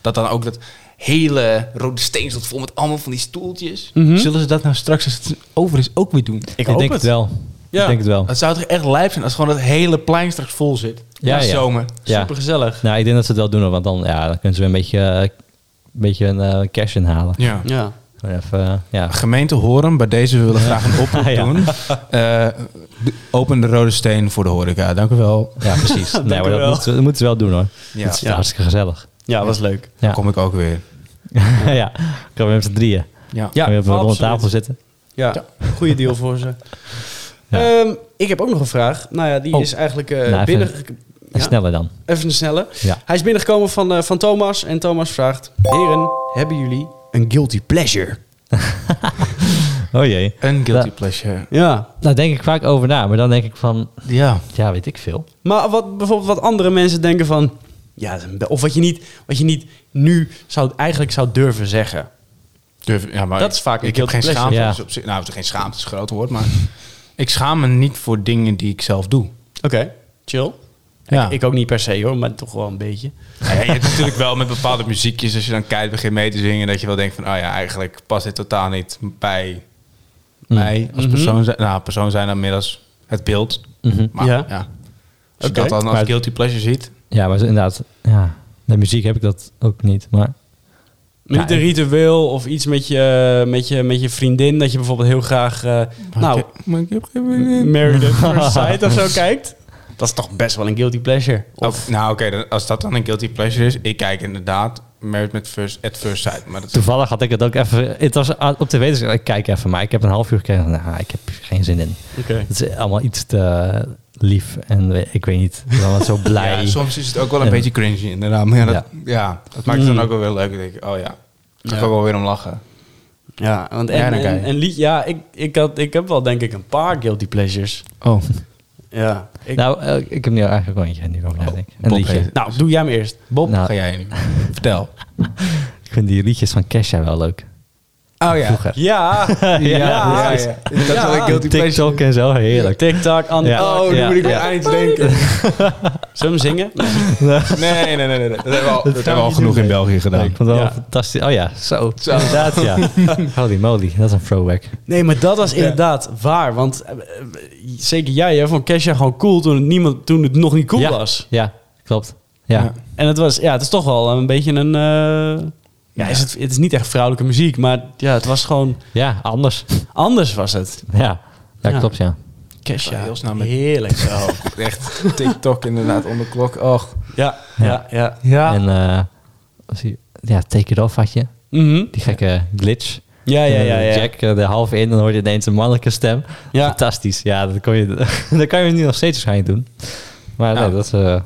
[SPEAKER 3] dat dan ook dat hele rode steen stond vol met allemaal van die stoeltjes.
[SPEAKER 2] Mhm.
[SPEAKER 3] Zullen ze dat nou straks als het over is ook weer doen?
[SPEAKER 1] Ik,
[SPEAKER 2] hoop
[SPEAKER 1] denk
[SPEAKER 2] het.
[SPEAKER 1] het wel.
[SPEAKER 2] Ja.
[SPEAKER 1] Ik denk het wel.
[SPEAKER 3] Dat zou toch echt lijp zijn als gewoon dat hele plein straks vol zit.
[SPEAKER 1] Ja,
[SPEAKER 3] Ja,
[SPEAKER 1] ja.
[SPEAKER 3] zomer.
[SPEAKER 1] Ja.
[SPEAKER 2] Supergezellig.
[SPEAKER 1] Nou, ik denk dat ze het wel doen, hoor, want dan, ja, dan kunnen ze weer een beetje, eh, een, beetje een eh, cash inhalen.
[SPEAKER 3] Ja.
[SPEAKER 2] Ja.
[SPEAKER 1] Gewoon even, eh, ja.
[SPEAKER 3] Gemeente Horen, bij deze willen we graag een oproep
[SPEAKER 1] Ja.
[SPEAKER 3] doen. Eh, de- open de rode steen voor de horeca. Dank u wel.
[SPEAKER 1] Ja, precies.
[SPEAKER 2] Dank
[SPEAKER 1] nee,
[SPEAKER 2] u
[SPEAKER 1] maar dat
[SPEAKER 2] wel.
[SPEAKER 1] moeten, ze- dat moeten ze wel doen, hoor.
[SPEAKER 3] Ja.
[SPEAKER 1] Het is
[SPEAKER 2] Ja.
[SPEAKER 1] hartstikke gezellig.
[SPEAKER 2] Ja, was leuk.
[SPEAKER 1] Ja.
[SPEAKER 3] Dan kom ik ook weer.
[SPEAKER 1] ja, dan gaan we met z'n drieën.
[SPEAKER 3] Ja.
[SPEAKER 1] Ja, we rond
[SPEAKER 2] absoluut.
[SPEAKER 1] de tafel zitten.
[SPEAKER 2] Ja, goede deal voor ze.
[SPEAKER 1] Ja.
[SPEAKER 2] Ehm, ik heb ook nog een vraag. Nou ja, die
[SPEAKER 1] Oh.
[SPEAKER 2] is eigenlijk eh,
[SPEAKER 1] Nou, even-
[SPEAKER 2] binnen...
[SPEAKER 1] En
[SPEAKER 2] Ja.
[SPEAKER 1] sneller dan.
[SPEAKER 2] Even een snelle.
[SPEAKER 1] Ja.
[SPEAKER 2] Hij is binnengekomen van, eh, van Thomas. En Thomas vraagt... Heren, hebben jullie een guilty pleasure?
[SPEAKER 1] Oh jee.
[SPEAKER 3] Een guilty
[SPEAKER 1] Ja.
[SPEAKER 3] pleasure.
[SPEAKER 2] Ja.
[SPEAKER 1] Daar denk ik vaak over na, maar dan denk ik van,
[SPEAKER 3] Ja.
[SPEAKER 1] ja, weet ik veel.
[SPEAKER 2] Maar wat, bijvoorbeeld wat andere mensen denken van... Ja, dat is een be- of wat je niet, wat je niet nu zou, eigenlijk zou durven zeggen.
[SPEAKER 3] Durf- ja, maar
[SPEAKER 2] Dat is vaak een
[SPEAKER 3] Ik heb geen
[SPEAKER 2] guilty pleasure.
[SPEAKER 3] schaamte.
[SPEAKER 1] Ja.
[SPEAKER 3] dus op zich- nou, geen schaamte is een groot woord, maar ik schaam me niet voor dingen die ik zelf doe.
[SPEAKER 2] Oké, chill.
[SPEAKER 3] Ja.
[SPEAKER 2] Ik, ik ook niet per se hoor, maar toch wel een beetje.
[SPEAKER 3] Ja, je hebt natuurlijk wel met bepaalde muziekjes, als je dan keihard begint mee te zingen, dat je wel denkt van, oh ja, eigenlijk past dit totaal niet bij
[SPEAKER 2] Mm.
[SPEAKER 3] mij
[SPEAKER 2] Mhm.
[SPEAKER 3] als persoon. zijn- Nou, persoon zijn dan middels het beeld.
[SPEAKER 1] Mhm.
[SPEAKER 3] Maar
[SPEAKER 2] Ja.
[SPEAKER 3] ja, als je
[SPEAKER 2] Oké.
[SPEAKER 3] dat dan als
[SPEAKER 1] Maar-
[SPEAKER 3] guilty pleasure ziet.
[SPEAKER 1] Ja, maar zo- inderdaad, ja. De muziek heb ik dat ook niet, maar...
[SPEAKER 2] Maar niet
[SPEAKER 1] Ja,
[SPEAKER 2] een
[SPEAKER 1] ik-
[SPEAKER 2] ritueel of iets met je, met je, met je vriendin... dat je bijvoorbeeld heel graag... eh, nou,
[SPEAKER 3] Maar ik heb geen idee.
[SPEAKER 2] Married at First Sight of zo kijkt. Oh, Dat is toch best wel een guilty pleasure. Of,
[SPEAKER 3] Ook- nou oké, dan- als dat dan een guilty pleasure is, ik kijk inderdaad Married met first, at First Sight. Maar dat is
[SPEAKER 1] Toevallig had ik het ook even... Het was aan- op tv, dus ik kijk even. Maar ik heb een half uur gekeken en dacht, nou, ik heb hier geen zin in. Het is allemaal iets te lief en we- ik weet niet. Ik ben wel zo blij.
[SPEAKER 3] Ja, soms is het ook wel een
[SPEAKER 1] Ja.
[SPEAKER 3] beetje cringy inderdaad. Maar ja, dat,
[SPEAKER 1] Ja.
[SPEAKER 3] ja. dat maakt het dan ook wel weer leuk. Dan denk ik, oh ja, ik
[SPEAKER 2] Mm.
[SPEAKER 3] kan
[SPEAKER 2] Ja.
[SPEAKER 3] ik ook wel weer om lachen.
[SPEAKER 2] ja, want
[SPEAKER 3] Ja,
[SPEAKER 2] en,
[SPEAKER 3] dan
[SPEAKER 2] en,
[SPEAKER 3] kijk.
[SPEAKER 2] en lied, ja, ik, ik, had, ik heb wel denk ik een paar guilty pleasures.
[SPEAKER 3] Oh,
[SPEAKER 2] Ja. Ik, nou,
[SPEAKER 1] Nou, eh, ik heb nu eigenlijk wel eentje nu over nadenk. Een
[SPEAKER 3] Oh, Bob
[SPEAKER 1] liedje.
[SPEAKER 3] heeft-
[SPEAKER 2] doe jij hem eerst.
[SPEAKER 3] Bob,
[SPEAKER 1] Nou.
[SPEAKER 3] ga jij nu. Vertel.
[SPEAKER 1] Ik vind die liedjes van Kesha wel leuk.
[SPEAKER 3] Oh ja.
[SPEAKER 1] Vroeger.
[SPEAKER 2] Ja, ja,
[SPEAKER 3] Ja, ja, ja. Dat is wel een guilty pleasure.
[SPEAKER 1] TikTok en zo, heerlijk.
[SPEAKER 2] TikTok, aan
[SPEAKER 1] Ja.
[SPEAKER 3] Oh, nu
[SPEAKER 1] Ja.
[SPEAKER 3] moet ik weer
[SPEAKER 1] Ja.
[SPEAKER 3] aan iets denken.
[SPEAKER 2] Zullen we hem zingen?
[SPEAKER 3] Nee, nee, nee, nee. nee. Dat hebben we al, dat hebben we al
[SPEAKER 1] niet
[SPEAKER 3] genoeg
[SPEAKER 1] doen,
[SPEAKER 3] in
[SPEAKER 1] nee.
[SPEAKER 3] België
[SPEAKER 1] Nee,
[SPEAKER 3] gedaan.
[SPEAKER 1] ik vond het wel
[SPEAKER 2] Ja.
[SPEAKER 1] fantastisch. Oh ja, zo.
[SPEAKER 3] Zo.
[SPEAKER 1] Inderdaad, ja. Holy moly, dat is een throwback.
[SPEAKER 2] Nee, maar dat was inderdaad waar. Want eh, eh, zeker jij hè, vond Kesha gewoon cool toen het, niemand, toen het nog niet cool
[SPEAKER 1] ja.
[SPEAKER 2] was.
[SPEAKER 1] Ja, klopt. Ja.
[SPEAKER 3] Ja.
[SPEAKER 2] En het, was, ja, het is toch wel een beetje een... eh, ja, is het, het is niet echt vrouwelijke muziek, maar ja, het was gewoon...
[SPEAKER 1] Ja, anders.
[SPEAKER 2] Anders was het.
[SPEAKER 1] Ja, ja,
[SPEAKER 2] Ja.
[SPEAKER 1] klopt, ja.
[SPEAKER 2] Kesha.
[SPEAKER 3] Heel snel met-
[SPEAKER 2] Heerlijk zo.
[SPEAKER 3] Oh, Echt TikTok inderdaad onder klok. Och.
[SPEAKER 2] ja, ja, ja.
[SPEAKER 3] Ja.
[SPEAKER 1] En eh, was die- ja, Take It Off had je.
[SPEAKER 2] Mhm.
[SPEAKER 1] Die gekke glitch.
[SPEAKER 2] Ja, ja, ja.
[SPEAKER 1] Eh,
[SPEAKER 2] ja.
[SPEAKER 1] Jack eh, de half in, dan hoor je ineens een mannelijke stem.
[SPEAKER 2] Ja.
[SPEAKER 1] Fantastisch. Ja, dat, kon je, dat kan je nu nog steeds waarschijnlijk doen. Maar
[SPEAKER 3] Ja.
[SPEAKER 2] Nou.
[SPEAKER 1] nee, dat, eh,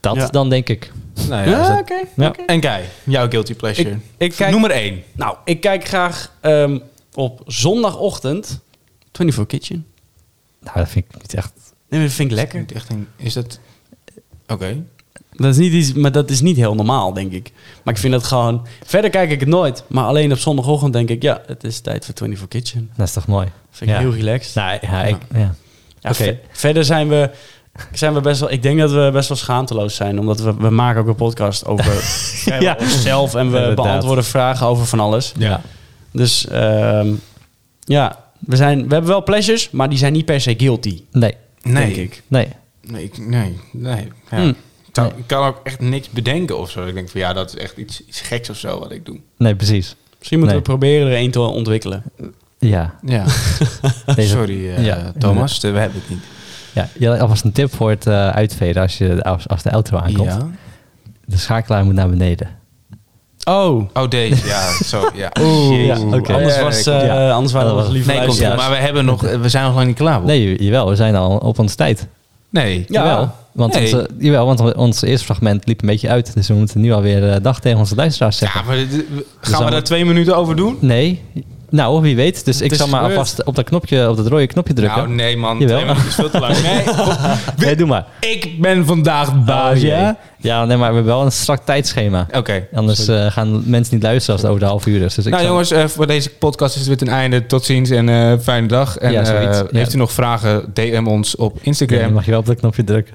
[SPEAKER 1] dat
[SPEAKER 2] Ja.
[SPEAKER 1] dan denk ik.
[SPEAKER 2] Ja,
[SPEAKER 3] Nou ja,
[SPEAKER 2] oké.
[SPEAKER 3] dat-
[SPEAKER 1] Ja.
[SPEAKER 3] En Kai, jouw guilty pleasure.
[SPEAKER 2] Ik, ik kijk,
[SPEAKER 3] Nummer 1.
[SPEAKER 2] nou, ik kijk graag ehm, op zondagochtend 24 Kitchen.
[SPEAKER 1] Nou, dat vind ik niet echt...
[SPEAKER 2] Nee, maar dat vind ik lekker.
[SPEAKER 3] Niet echt een- Is dat... Oké.
[SPEAKER 2] Dat is niet iets, maar dat is niet heel normaal, denk ik. Maar ik vind dat gewoon... Verder kijk ik het nooit. Maar alleen op zondagochtend denk ik... Ja, het is tijd voor 24 Kitchen.
[SPEAKER 1] Dat is toch mooi?
[SPEAKER 2] Vind ik
[SPEAKER 1] Ja.
[SPEAKER 2] heel relaxed.
[SPEAKER 1] Nou, ja, ik... Ja.
[SPEAKER 2] Ja,
[SPEAKER 1] Oké.
[SPEAKER 2] ver- verder zijn we, zijn we best wel... Ik denk dat we best wel schaamteloos zijn. Omdat we, we maken ook een podcast over
[SPEAKER 1] Ja.
[SPEAKER 2] onszelf. En we
[SPEAKER 1] Inderdaad.
[SPEAKER 2] beantwoorden vragen over van alles.
[SPEAKER 1] Ja.
[SPEAKER 2] Dus ehm, ja, we, zijn, we hebben wel pleasures, maar die zijn niet per se guilty.
[SPEAKER 1] Nee.
[SPEAKER 3] Nee.
[SPEAKER 2] Denk ik.
[SPEAKER 1] Nee.
[SPEAKER 3] Nee, ik- nee, nee. Ja.
[SPEAKER 2] Hmm.
[SPEAKER 3] Ik zou- Ik kan ook echt niks bedenken of zo. Ik denk van ja, dat is echt iets, iets geks of zo wat ik doe.
[SPEAKER 1] Nee, precies.
[SPEAKER 2] Misschien moeten
[SPEAKER 1] Nee.
[SPEAKER 2] we proberen er één te ontwikkelen.
[SPEAKER 1] Ja.
[SPEAKER 3] Ja,
[SPEAKER 1] Deze-
[SPEAKER 3] sorry eh,
[SPEAKER 1] Ja.
[SPEAKER 3] Thomas, we hebben het niet.
[SPEAKER 1] Ja, je had alvast een tip voor het eh, uitveden als, je, als, als de auto aankomt.
[SPEAKER 3] Ja.
[SPEAKER 1] De schakelaar moet naar beneden.
[SPEAKER 2] Oh,
[SPEAKER 3] Oh, deze, ja, zo, ja. Jezus.
[SPEAKER 1] ja, oké.
[SPEAKER 2] anders,
[SPEAKER 3] Ja,
[SPEAKER 2] was,
[SPEAKER 3] nee,
[SPEAKER 2] eh,
[SPEAKER 1] ja.
[SPEAKER 2] anders waren we
[SPEAKER 1] Ja,
[SPEAKER 2] onze lieve
[SPEAKER 3] Nee, komt
[SPEAKER 2] luisteraars.
[SPEAKER 3] goed. Maar we, hebben nog, we zijn nog lang niet klaar. Bob.
[SPEAKER 1] Nee, je- jawel, we zijn al op ons tijd.
[SPEAKER 3] nee.
[SPEAKER 2] Ja.
[SPEAKER 1] Jawel, want, eh,
[SPEAKER 3] Nee.
[SPEAKER 1] onze, jawel, want on- ons eerste fragment liep een beetje uit. Dus we moeten nu alweer eh dag tegen onze luisteraars zeggen.
[SPEAKER 3] Ja, maar dit- we- gaan
[SPEAKER 1] allemaal-
[SPEAKER 3] we daar twee minuten over doen?
[SPEAKER 1] Nee, Nou, wie weet. Dus ik
[SPEAKER 2] is
[SPEAKER 1] zal maar
[SPEAKER 2] gebeurd.
[SPEAKER 1] alvast op dat knopje, op dat rode knopje drukken.
[SPEAKER 3] Nou, nee Oh, man.
[SPEAKER 1] Jawel.
[SPEAKER 3] Twee minuten is veel te lang. Nee,
[SPEAKER 1] nee, doe maar.
[SPEAKER 3] ik ben vandaag baas,
[SPEAKER 1] Oh,
[SPEAKER 3] ja?
[SPEAKER 1] jee. Ja, nee, maar we hebben wel een strak tijdschema.
[SPEAKER 3] Oké.
[SPEAKER 1] Anders eh, gaan mensen niet luisteren als het over de half uur is. Dus ik
[SPEAKER 3] Nou
[SPEAKER 1] zal-
[SPEAKER 3] jongens, eh, voor deze podcast is het weer ten einde. Tot ziens en eh, fijne dag. En
[SPEAKER 1] Ja,
[SPEAKER 3] eh,
[SPEAKER 1] zoiets. Ja.
[SPEAKER 3] heeft u nog vragen, DM ons op
[SPEAKER 1] Ja, dan
[SPEAKER 3] Instagram.
[SPEAKER 1] mag je wel op dat knopje drukken.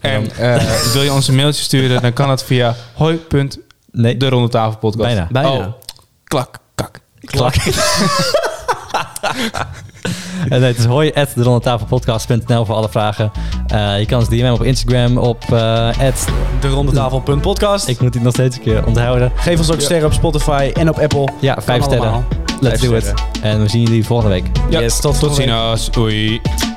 [SPEAKER 3] en eh, wil je ons een mailtje sturen, dan kan dat via hoi.derondetafelpodcast.
[SPEAKER 1] Nee,
[SPEAKER 3] De Ronde Tafel Podcast.
[SPEAKER 1] Bijna.
[SPEAKER 2] Bijna.
[SPEAKER 3] Oh, klak, kak.
[SPEAKER 1] klak. En nee, het is hoi at derondetafelpodcast.nl voor alle vragen. Eh, je kan ons DM'en op Instagram op eh at-
[SPEAKER 2] De rondetafel.podcast.
[SPEAKER 1] Ik moet dit nog steeds een keer onthouden.
[SPEAKER 2] Geef ons ook sterren op Spotify en op Apple.
[SPEAKER 1] Ja, vijf sterren.
[SPEAKER 2] allemaal.
[SPEAKER 1] Let's
[SPEAKER 3] Vijf
[SPEAKER 1] do it. En we zien jullie volgende week.
[SPEAKER 2] Yes, tot
[SPEAKER 3] tot
[SPEAKER 2] volgende
[SPEAKER 3] ziens. Oei.